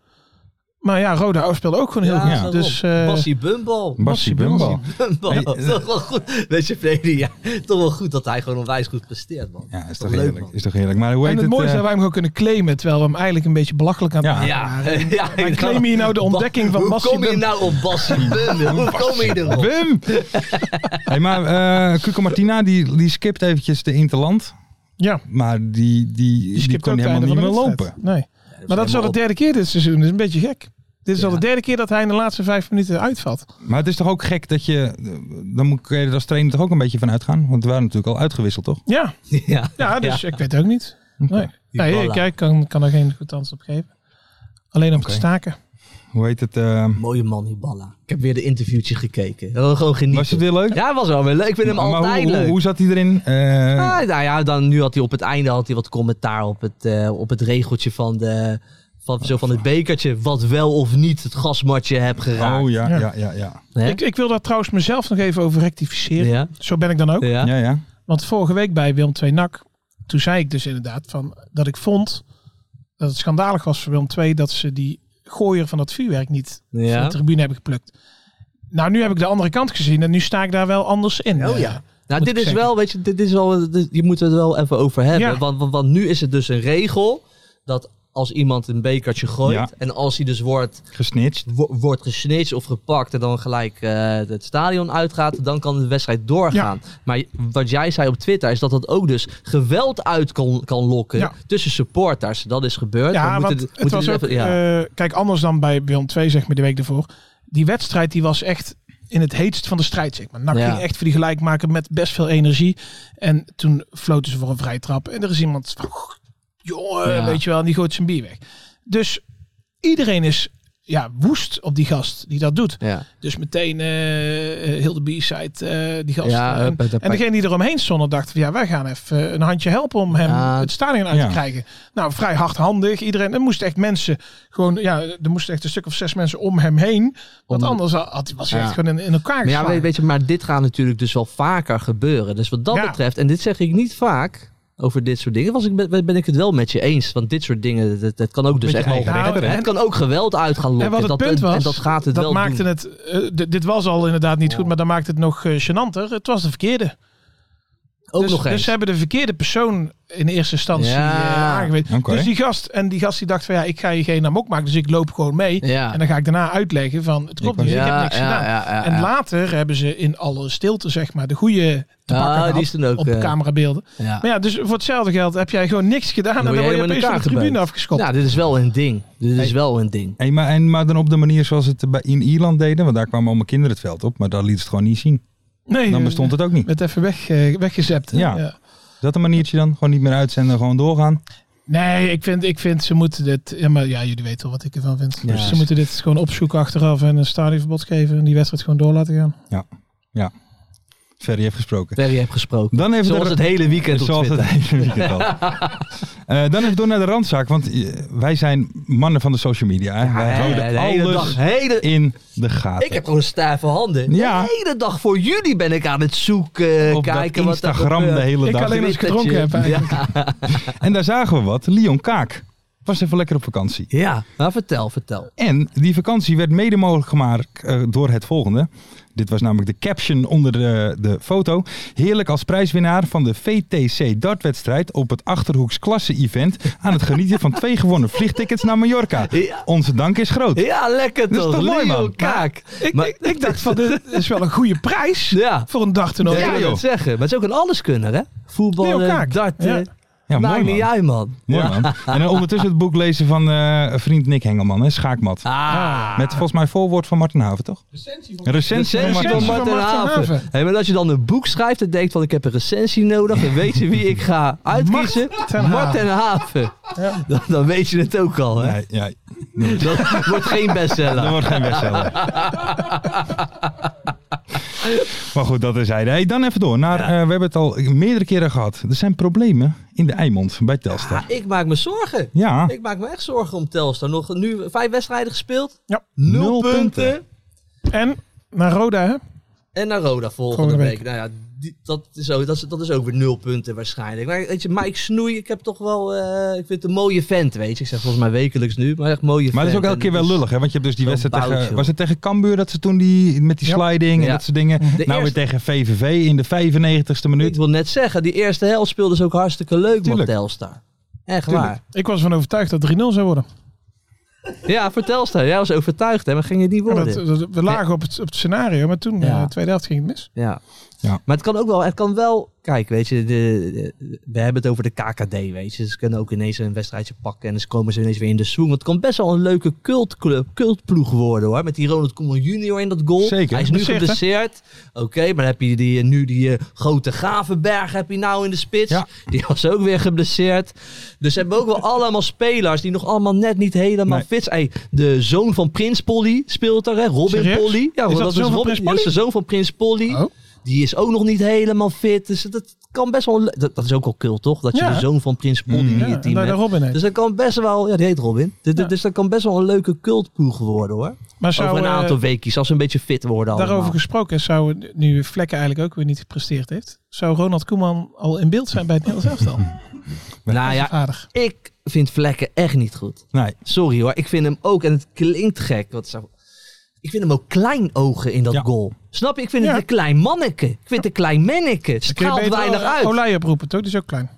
S5: Maar ja, Roda speelde ook gewoon heel
S4: ja,
S5: goed. Dus, eh,
S4: Bassie Bumbal.
S3: Bassie Bumbal.
S4: Bumbal.
S3: Hey,
S4: Dat is toch wel goed. Weet je, verleden jaar. Toch wel goed dat hij gewoon onwijs goed presteert, man.
S3: Ja, is
S4: Toch
S3: toch
S4: leuk,
S3: heerlijk.
S4: man.
S3: Is toch heerlijk. Maar hoe
S5: en
S3: heet het?
S5: het, mooiste is
S3: eh,
S5: dat wij hem gewoon kunnen claimen, terwijl we hem eigenlijk een beetje belachelijk aan het
S3: Ja.
S5: maken
S4: Ja,
S5: waren.
S4: ja.
S5: Maar claim je nou de ontdekking van
S4: Hoe
S5: Bassie
S4: kom je
S5: Bumbal?
S4: nou op Bassie Bumbal? Hoe kom je erop?
S3: Bum! hey, maar eh Cuco Martina die, die skipt eventjes de Interland.
S5: Ja,
S3: Maar die, die, die,
S5: skipt
S3: kon
S5: ook het
S3: helemaal
S5: einde
S3: niet
S5: van
S3: meer
S5: de wedstrijd.
S3: lopen.
S5: Nee. Maar dat is al de derde keer dit seizoen. Dat is een beetje gek. Dit is al de derde keer dat hij in de laatste vijf minuten uitvalt.
S3: Maar het is toch ook gek dat je... Dan moet je er als trainer toch ook een beetje van uitgaan? Want we waren natuurlijk al uitgewisseld, toch?
S5: Ja,
S4: Ja.
S5: ja dus ik weet ook niet. Nee,
S3: Oké.
S5: nee
S4: Voilà.
S5: kijk, ik kan, kan er geen goed antwoord op geven. Alleen op te staken.
S3: Hoe heet het? eh,
S4: Mooie man, Hiballa. Ik heb weer de interviewtje gekeken. Dat was gewoon genieten.
S3: was het weer leuk?
S4: Ja, hij was wel weer leuk. Ik vind hem
S3: maar
S4: altijd
S3: hoe, hoe,
S4: leuk.
S3: hoe zat hij erin? Eh,
S4: Ah, nou ja, dan, nu had hij op het einde had hij wat commentaar op het, eh, op het regeltje van, de, van, zo van het bekertje. Wat wel of niet het gasmatje heb geraakt.
S3: oh ja,
S5: Ja.
S3: ja, ja, ja.
S4: Hè?
S5: Ik, ik wil daar trouwens mezelf nog even over rectificeren.
S4: Ja.
S5: Zo ben ik dan ook.
S4: Ja.
S3: Ja, ja.
S5: Want vorige week bij Willem II NAC, toen zei ik dus inderdaad van, dat ik vond dat het schandalig was voor Willem II dat ze die gooier van dat vuurwerk niet van
S4: Ja.
S5: de tribune hebben geplukt. Nou, nu heb ik de andere kant gezien en nu sta ik daar wel anders in.
S4: Oh ja.
S5: Eh,
S4: Nou,
S5: Moet
S4: dit
S5: ik
S4: is
S5: zeggen.
S4: wel, weet je, dit is wel, dit- je moet het wel even over hebben.
S5: Ja.
S4: Want, want, want nu is het dus een regel dat als iemand een bekertje gooit
S3: Ja.
S4: en als hij dus wordt,
S3: Gesnitcht.
S4: wo- wordt gesnitst of gepakt en dan gelijk eh, het stadion uitgaat, dan kan de wedstrijd doorgaan. Maar wat jij zei op Twitter is dat dat ook dus geweld uit kan, kan lokken
S5: Ja.
S4: tussen supporters. Dat is gebeurd. We
S5: Ja,
S4: moeten
S5: want
S4: dit-
S5: het
S4: moeten
S5: was
S4: dit
S5: ook,
S4: even- ja.
S5: eh, kijk, anders dan bij Willem II zeg maar de week daarvoor. Die wedstrijd die was echt in het heetst van de strijd zeg maar. NAC
S4: Ja.
S5: ging echt voor die gelijkmaker met best veel energie. En toen floten ze voor een vrije trap. En er is iemand van, "Goh, jongen,
S4: Ja.
S5: weet je wel, en die gooit zijn bier weg. Dus iedereen is ja, woest op die gast die dat doet.
S4: ja.
S5: Dus meteen eh, eh, heel de B-side, eh, die gast.
S4: Ja,
S5: en,
S4: hup, hup, hup.
S5: en degene die eromheen stonden dachten van ja, wij gaan even eh, een handje helpen om hem
S4: Ja.
S5: het stadion uit
S3: Ja.
S5: te krijgen. Nou, vrij hardhandig. Iedereen, er moesten echt mensen gewoon, ja, er moesten echt een stuk of zes mensen om hem heen. Want
S4: Om-
S5: anders had, was hij
S4: Ja.
S5: echt gewoon in, in elkaar
S4: Maar ja,
S5: geslagen.
S4: weet, weet je, maar dit gaat natuurlijk dus wel vaker gebeuren. Dus wat dat
S5: Ja.
S4: betreft, en dit zeg ik niet vaak over dit soort dingen, was ik, ben, ben ik het wel met je eens. Want dit soort dingen, dat, dat kan ook dus
S3: Beetje
S4: echt wel,
S3: eigen
S5: rechter,
S4: het
S5: hè?
S4: kan ook geweld uit gaan lokken.
S5: en wat het
S4: dat,
S5: punt
S4: en-
S5: was,
S4: en dat gaat het
S5: dat
S4: wel
S5: maakte
S4: doen.
S5: het, eh, d- dit was al inderdaad niet goed, maar dat maakte het nog eh, gênanter. Het was de verkeerde.
S4: ook
S5: dus,
S4: nog
S5: dus
S4: eens.
S5: ze hebben de verkeerde persoon in eerste instantie
S4: Ja.
S5: eh, aangewezen.
S3: Oké.
S5: Dus die gast, en die gast die dacht van ja, ik ga je geen amok maken, dus ik loop gewoon mee.
S4: Ja.
S5: En dan ga ik daarna uitleggen van het klopt
S3: Ik
S5: niet, ik
S4: ja,
S5: heb niks
S4: ja,
S5: gedaan.
S4: ja, ja,
S5: En
S4: ja.
S5: later hebben ze in alle stilte zeg maar de goede te
S4: Ah,
S5: pakken
S4: die
S5: gehad
S4: is toen ook,
S5: op
S4: eh,
S5: camerabeelden.
S4: Ja.
S5: Maar ja, dus voor hetzelfde geld heb jij gewoon niks gedaan en
S4: Dan
S5: dan
S4: word
S5: word je
S4: je helemaal in
S5: opeens van de
S4: elkaar
S5: tribune
S4: gebeukt.
S5: afgeschopt.
S4: Nou, dit is wel een ding. Dit is wel een ding.
S3: Hey, maar, en, maar dan op de manier zoals het eh, bij- in Ierland deden, want daar kwamen allemaal kinderen het veld op, maar daar liet het gewoon niet zien.
S4: Nou,
S5: nee,
S3: Dan bestond het ook niet.
S5: Met even weg, eh, weggezept. hè?
S3: Ja. Is dat een maniertje dan? Gewoon niet meer uitzenden, gewoon doorgaan.
S5: Nee, ik vind, ik vind ze moeten dit. Ja, maar ja, jullie weten wel wat ik ervan vind.
S4: Ja.
S5: Dus ze moeten dit gewoon opzoeken achteraf en een stadionverbod geven en die wedstrijd gewoon door laten gaan.
S3: Ferry heeft gesproken.
S4: Terry heeft gesproken.
S3: Dan even
S4: Zoals
S3: de-
S4: het hele weekend op
S3: Zoals het
S4: Twitter.
S3: hele weekend al. Eh, dan even door naar de randzaak, want eh, wij zijn mannen van de social media. Hè? wij
S4: Ja,
S3: houden
S4: de hele
S3: alles
S4: dag. Hele,
S3: in de gaten.
S4: ik heb gewoon stijve handen.
S3: Ja.
S4: De hele dag voor jullie ben ik aan het zoeken.
S3: op dat
S4: kijken wat er
S3: Instagram de
S4: gebeurt.
S3: hele
S5: Ik
S3: dag.
S5: alleen als ik gedronken heb.
S4: Twittertje.
S5: eigenlijk.
S3: En daar zagen we wat. Leon Kaak was even lekker op vakantie.
S4: Ja, nou vertel, vertel.
S3: En die vakantie werd mede mogelijk gemaakt eh, door het volgende. Dit was namelijk de caption onder de, de foto. Heerlijk als prijswinnaar van de VTC dartwedstrijd op het Achterhoeks klasse-event aan het genieten van twee gewonnen vliegtickets naar Mallorca.
S4: Ja.
S3: Onze dank is groot.
S4: Ja, lekker
S3: Dat is
S4: toch?
S3: toch mooi,
S4: Leon
S3: man?
S4: Kaak.
S5: Ik,
S4: Maar-
S5: ik, ik dacht van dit is wel een goede prijs
S4: Ja.
S5: voor een
S4: Ja,
S5: dagtoernooi.
S4: ik wil het zeggen. Maar het is ook een alleskunner, hè? Voetbal,
S5: Leon
S4: eh,
S5: Kaak. Ja.
S4: darten.
S3: Ja,
S4: Maakt
S3: mooi
S4: niet
S3: man.
S4: uit, man. Ah,
S3: Mooi, man. En dan ondertussen het boek lezen van eh, vriend Nick Hengelman, hè, Schaakmat.
S4: Ah.
S3: Met volgens mij voorwoord van Martin Haven, toch? Een recensie van
S4: Recensie
S3: Martin
S4: van
S3: Haven.
S4: Martin
S5: Martin
S4: Haven.
S5: Haven.
S4: Hey, maar als je dan een boek schrijft en denkt van ik heb een recensie nodig en weet je wie ik ga uitkiezen?
S5: Martin Haven.
S4: Martin Haven. Dan, dan weet je het ook al, hè?
S3: Nee, ja,
S4: Dat wordt geen
S3: Dat
S4: bestseller.
S3: wordt geen bestseller. maar goed, dat is hij. Hey, dan even door. Naar, eh, we hebben het al meerdere keren gehad. Er zijn problemen in de Eimond bij Telstar.
S4: Ah, ik maak me zorgen.
S3: Ja,
S4: Ik maak me echt zorgen om Telstar. Nog nu vijf wedstrijden gespeeld.
S5: Ja.
S4: Nul,
S3: Nul punten.
S4: punten.
S5: En naar Roda, hè?
S4: En naar Roda volgende
S5: Volgende
S4: week.
S5: week.
S4: Nou ja, die- dat, is ook, dat, is, dat is ook weer nul punten waarschijnlijk. Maar weet je, Mike Snoei, ik heb toch wel... eh, ik vind het een mooie vent, weet je. Ik zeg volgens mij wekelijks nu, maar echt mooie vent.
S3: maar dat is ook elke
S4: En
S3: keer wel
S4: dus
S3: lullig. Hè? Want je hebt dus die
S4: zo'n
S3: wedstrijd
S4: bout,
S3: tegen...
S4: joh.
S3: Was het tegen Cambuur dat ze toen die, met die
S5: Ja.
S3: sliding en
S4: Ja.
S3: dat soort dingen? nou weer
S4: eerste-
S3: tegen VVV in de 95ste
S4: Ik
S3: minuut.
S4: wil net zeggen, die eerste helft speelde ze ook hartstikke leuk, man,
S3: Tuurlijk.
S4: Telstar. Echt
S3: Tuurlijk.
S4: waar.
S5: Ik was ervan overtuigd dat 3-0 zou worden.
S4: Ja, voor Telstar. Jij was overtuigd, hè. Maar ging het niet
S5: Maar
S4: worden.
S5: dat, dat- we lagen op het, op het scenario, maar toen,
S4: Ja.
S5: eh, de tweede helft, ging het mis.
S4: Ja.
S3: Ja.
S4: Maar het kan ook wel, het kan wel, kijk, weet je, de, de- we hebben het over de KKD, weet je. Ze kunnen ook ineens een wedstrijdje pakken en dan komen ze ineens weer in de swing. Want het kan best wel een leuke cultclub, cultploeg worden hoor. Met die Ronald Koeman junior in dat goal.
S3: Zeker,
S4: Hij is nu
S3: geblesseerd, hè?
S4: geblesseerd. Oké, maar dan heb je die, nu die eh, grote Gravenberg heb je nou in de spits.
S3: Ja.
S4: Die was ook weer geblesseerd. Dus hebben we ook wel allemaal spelers die nog allemaal net niet helemaal
S3: Nee.
S4: fit zijn. Ey, de zoon van Prins Polly speelt er, hè? Robin
S5: Serieus?
S4: Polly. Ja,
S5: Is dat de zoon van
S4: Robin-
S5: Prins
S4: ja,
S5: Polly?
S4: dat is de zoon van Prins Polly.
S5: Oh.
S4: Die is ook nog niet helemaal fit. Dus dat kan best wel. le- Dat, dat is ook wel cult, toch? Dat je
S5: Ja. Mm,
S4: de zoon van Prins Polly in je
S5: Ja, en
S4: team
S5: daar de
S4: hebt.
S5: Robin heet.
S4: Dus dat kan best wel. Ja, die heet Robin. Dus,
S5: Ja.
S4: dus dat kan best wel een leuke cultploeg worden hoor.
S5: maar zou,
S4: Over een
S5: eh,
S4: aantal weekjes, als ze een beetje fit worden. Allemaal.
S5: daarover gesproken, zou nu Vlekken eigenlijk ook weer niet gepresteerd heeft, zou Ronald Koeman al in beeld zijn bij het Nederlands elftal?
S4: Nou ja,
S5: Aardig.
S4: ik vind vlekken echt niet goed.
S3: Nee.
S4: Sorry hoor, ik vind hem ook, en het klinkt gek. Wat zou... Ik vind hem ook klein ogen in dat
S3: Ja.
S4: goal. Snap je? Ik vind
S5: Ja.
S4: het een klein manneke. Ik vind het een klein manneke. Het
S5: Dan kun je
S4: straalt
S5: beter
S4: weinig
S5: Olij-
S4: uit.
S5: Olij oproepen, toch? Die is ook klein.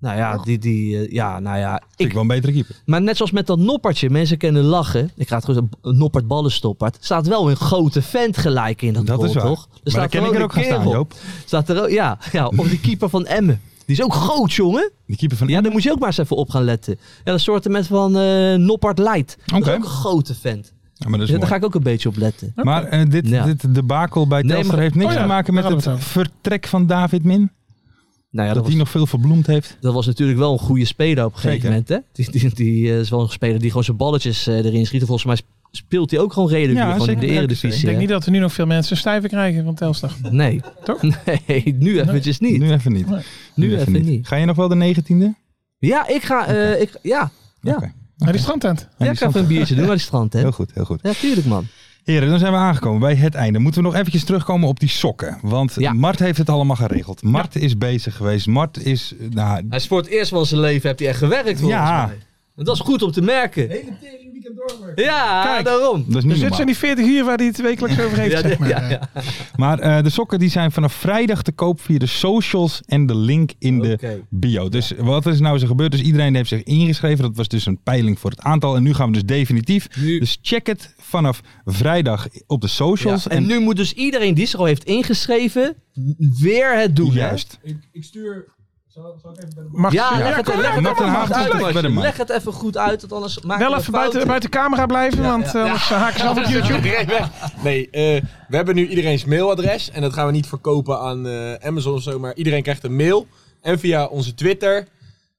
S4: Nou ja, die, die, eh, ja, nou ja.
S3: Ik
S4: Ik,
S3: wel een betere keeper.
S4: maar net zoals met dat noppertje. Mensen kennen lachen. Ik ga het gewoon zeggen, Noppert ballenstoppert. Staat wel een grote vent gelijk in dat,
S3: Dat
S4: goal,
S3: is waar.
S4: toch? Er
S3: maar daar
S4: staat
S3: ken ik er
S4: gewoon
S3: ook
S4: een
S3: gaan staan,
S4: kerel.
S3: Joop.
S4: Staat er ook, ja, ja, of die keeper van Emmen. Die is ook groot, jongen.
S3: Die keeper van...
S4: Ja, daar moet je ook maar eens even op gaan letten. Ja, dat soortement van eh Noppert Light. Dat
S3: Oké.
S4: is ook een grote vent.
S3: Ja, maar dat is
S4: Ja, daar
S3: mooi.
S4: ga ik ook een beetje op letten.
S3: Maar eh, dit,
S4: Ja.
S3: dit debakel bij
S4: Nee,
S3: Telstra
S4: maar-
S3: heeft niks
S5: Oh ja,
S3: te maken met
S5: daar
S3: het
S5: hadden we
S3: vertrek van David Min.
S4: Nou ja,
S3: dat
S4: dat,
S3: hij
S4: was,
S3: nog veel verbloemd heeft.
S4: dat was natuurlijk wel een goede speler op een gegeven
S3: Zeker.
S4: moment. Hè? Die, die, die eh, is wel een speler die gewoon zijn balletjes eh, erin schiet. En Volgens mij speelt hij ook gewoon redelijk
S3: Ja,
S4: weer gewoon in de
S3: zeker.
S5: Ik
S4: eredivisie.
S5: denk
S4: hè?
S5: niet dat er nu nog veel mensen stijven krijgen van Telstar.
S4: Nee.
S5: Toch?
S4: Nee, nu eventjes niet.
S3: Nu even niet.
S5: Nee.
S4: Nu even niet.
S3: Ga je nog wel de 19e?
S4: Ja, ik ga... eh, ik, ja, Ja.
S3: Oké.
S5: Maar die strandtent.
S4: ja ik ga even een biertje doen aan het strand. Hè?
S3: Heel goed, heel goed.
S4: Ja, tuurlijk man.
S3: Heren, dan zijn we aangekomen bij het einde. Moeten we nog eventjes terugkomen op die sokken. Want
S4: Ja.
S3: Mart heeft het allemaal geregeld. Mart is bezig geweest. Mart is... eh, Nou,
S4: Hij is voor het eerst van zijn leven, heeft hij echt gewerkt volgens
S3: Ja.
S4: mij. En dat is goed om te merken. De hele weekend doorwerken. Ja,
S5: Kijk.
S4: daarom.
S3: dat is
S5: Dus
S3: niet
S5: dit
S3: normaal.
S5: zijn die 40 uur waar hij het wekelijks over heeft,
S4: Ja,
S5: zeg maar.
S4: ja, ja.
S3: Maar eh, de sokken die zijn vanaf vrijdag te koop via de socials en de link in de
S4: Oké.
S3: bio. Dus wat is nou zo gebeurd? Dus iedereen heeft zich ingeschreven. Dat was dus een peiling voor het aantal. En nu gaan we dus definitief.
S4: Nu-
S3: Dus check het vanaf vrijdag op de socials.
S4: Ja, En nu moet dus iedereen die zich al heeft ingeschreven, weer het doen. hè?
S3: Juist.
S5: Mag
S4: Ja,
S5: ja,
S4: leg, het, leg, het
S3: Mark
S4: even
S3: ten
S4: goed
S3: Haag,
S4: uit,
S3: leuk. Bij de
S4: Mark.
S3: Mark.
S4: leg het even goed uit, want anders maken
S5: wel
S4: we
S5: even
S4: fouten.
S5: buiten, buiten camera blijven, want
S4: ja.
S5: anders haken ze af op YouTube.
S9: Nee, eh, we hebben nu iedereen's mailadres. En dat gaan we niet verkopen aan eh, Amazon of zo. Maar iedereen krijgt een mail. En via onze Twitter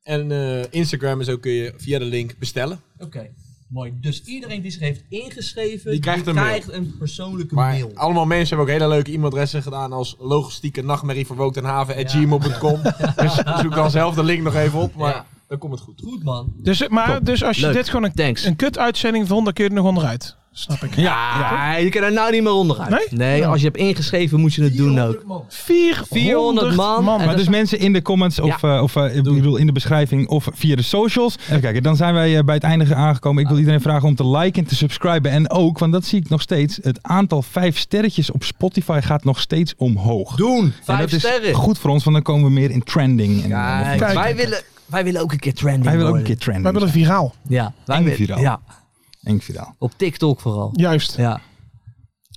S9: en eh, Instagram en zo kun je via de link bestellen.
S4: Oké, mooi. Dus iedereen die zich heeft ingeschreven,
S9: Die krijgt een mail.
S4: een persoonlijke
S9: Maar
S4: mail.
S9: allemaal mensen hebben ook hele leuke e-mailadressen gedaan. Als logistieke nachtmerrie voor Wooktenhaven at gmail.com. Dus zoek dan zelf de link nog even op. Maar
S4: Ja.
S9: dan komt het goed.
S4: Goed man.
S5: Dus, maar, dus als je
S4: Leuk.
S5: dit gewoon een,
S4: Thanks.
S5: een kut-uitzending vond, dan kun je er nog onderuit. Snap ik.
S4: Ja, je kan er nou niet meer onderuit.
S5: Nee? Ja.
S4: als je hebt ingeschreven moet je het doen ook.
S5: 400,
S4: 400 man.
S5: man.
S4: En
S3: Maar dus mensen in de comments of, eh, of eh, ik bedoel, in de beschrijving of via de socials. Even kijken, dan zijn wij eh, bij het einde aangekomen. Ik wil iedereen vragen om te liken en te subscriben. En ook, want dat zie ik nog steeds, het aantal vijf sterretjes op Spotify gaat nog steeds omhoog.
S4: Doen.
S3: En
S4: Vijf
S3: dat
S4: sterren.
S3: is goed voor ons, want dan komen we meer in trending. En,
S4: Kijk,
S3: en-
S4: wij, willen, wij willen ook een keer trending
S3: Hij wil ook een
S4: worden.
S3: keer trending.
S5: Wij willen
S3: zijn.
S5: viraal.
S4: Ja, wij
S3: En
S4: willen-
S3: viraal.
S4: Ja,
S3: Henk Viraal.
S4: op TikTok vooral.
S5: Juist.
S4: Ja.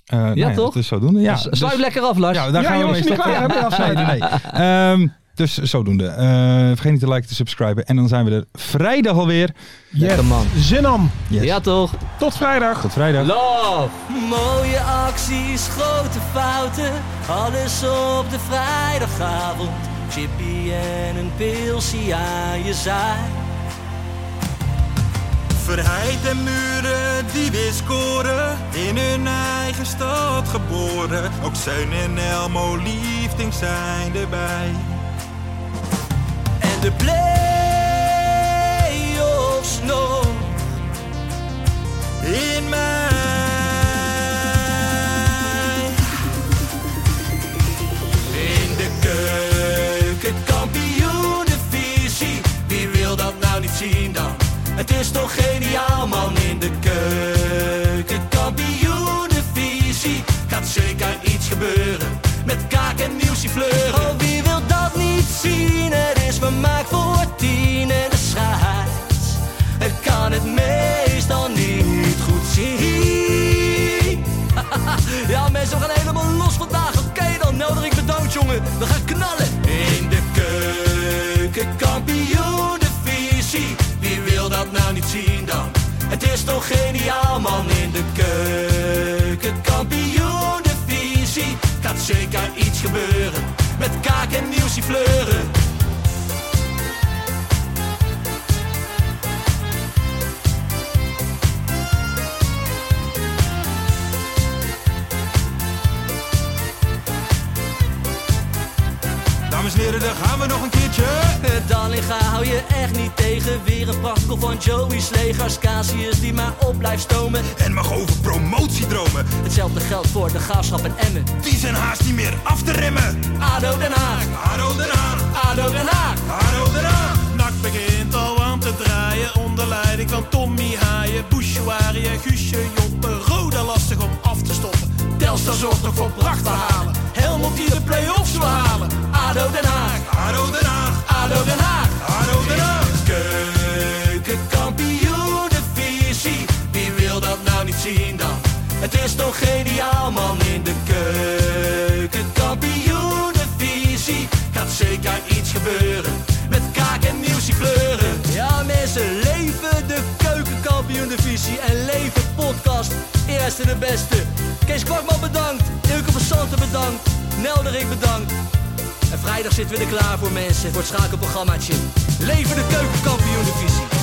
S3: Eh, nou ja,
S4: toch?
S3: Dat is zodoende. Ja,
S4: S-
S3: dus-
S4: Sluit lekker af, Lars.
S3: Ja, daar
S5: Ja,
S3: gaan we
S5: jongens,
S3: mee
S5: je bent
S3: stoppen.
S5: klaar, hè?
S3: Ja, afsluiten, nee. Ehm, dus zodoende. Eh, vergeet niet te liken, te subscriben. En dan zijn we er vrijdag alweer.
S5: Yes.
S4: Lekker man.
S5: Zin om.
S3: Yes.
S4: Ja toch?
S5: Tot vrijdag.
S3: Tot vrijdag.
S4: Love.
S1: Mooie acties, grote fouten, alles op de vrijdagavond. Chippy en een pilsie aan je zaai.
S2: Verheid en muren die weer scoren, in hun eigen stad geboren. Ook Zeun en Elmo Liefding zijn erbij.
S1: En de play-offs nog.
S2: In mij.
S1: In de keuken, kampioenenvisie. Wie wil dat nou niet zien dan? Het is toch geniaal man in de keuken, kampioenenvisie. Gaat zeker iets gebeuren met kaak en nieuwsie fleuren. Oh, wie wil dat niet zien? Het is vermaakt voor tien en de scheids. Het kan het meestal niet goed zien. Ja, mensen, we gaan helemaal los vandaag. Oké, dan nodig ik bedankt De kampioenenvisie, wie wil dat nou niet zien dan? Het is toch geniaal man in de keuken. Kampioenenvisie, gaat zeker iets gebeuren. Met kaak en nieuwsie fleuren.
S2: Dames en heren, daar gaan we nog een keertje.
S10: Dallinga hou je echt niet tegen. Weer een prachtkel van Joey's legers. Casius die maar op blijft stomen.
S2: En mag over promotie dromen.
S10: Hetzelfde geldt voor de gaafschap en Emmen.
S2: Die zijn haast niet meer af te remmen.
S10: ADO Den Haag.
S2: ADO Den Haag.
S10: ADO Den Haag.
S2: ADO Den Haag.
S1: Nak begint al aan te draaien onder leiding van Tommy Haaien, Bouchouari en Guusje Joppen. Roda lastig om af te stoppen. Telstar zorgt nog voor pracht te halen. Helmond die de play-offs wil halen. ADO Den Haag.
S2: ADO Den Haag.
S1: ADO Den Haag.
S2: ADO Den Haag.
S1: Keukenkampioenenvisie. Wie wil dat nou niet zien dan? Het is toch geniaal man in de keukenkampioenenvisie. Gaat zeker iets gebeuren. Met kaak en nieuwsie kleuren.
S10: Ja mensen, leven de keukenkampioen divisie en leven podcast. Eerste de beste. Kees Kwakman bedankt. Ilke van Santen bedankt. Nelderik bedankt. En vrijdag zitten we er klaar voor mensen, voor het schakelprogrammaatje. Leven de keukenkampioen divisie.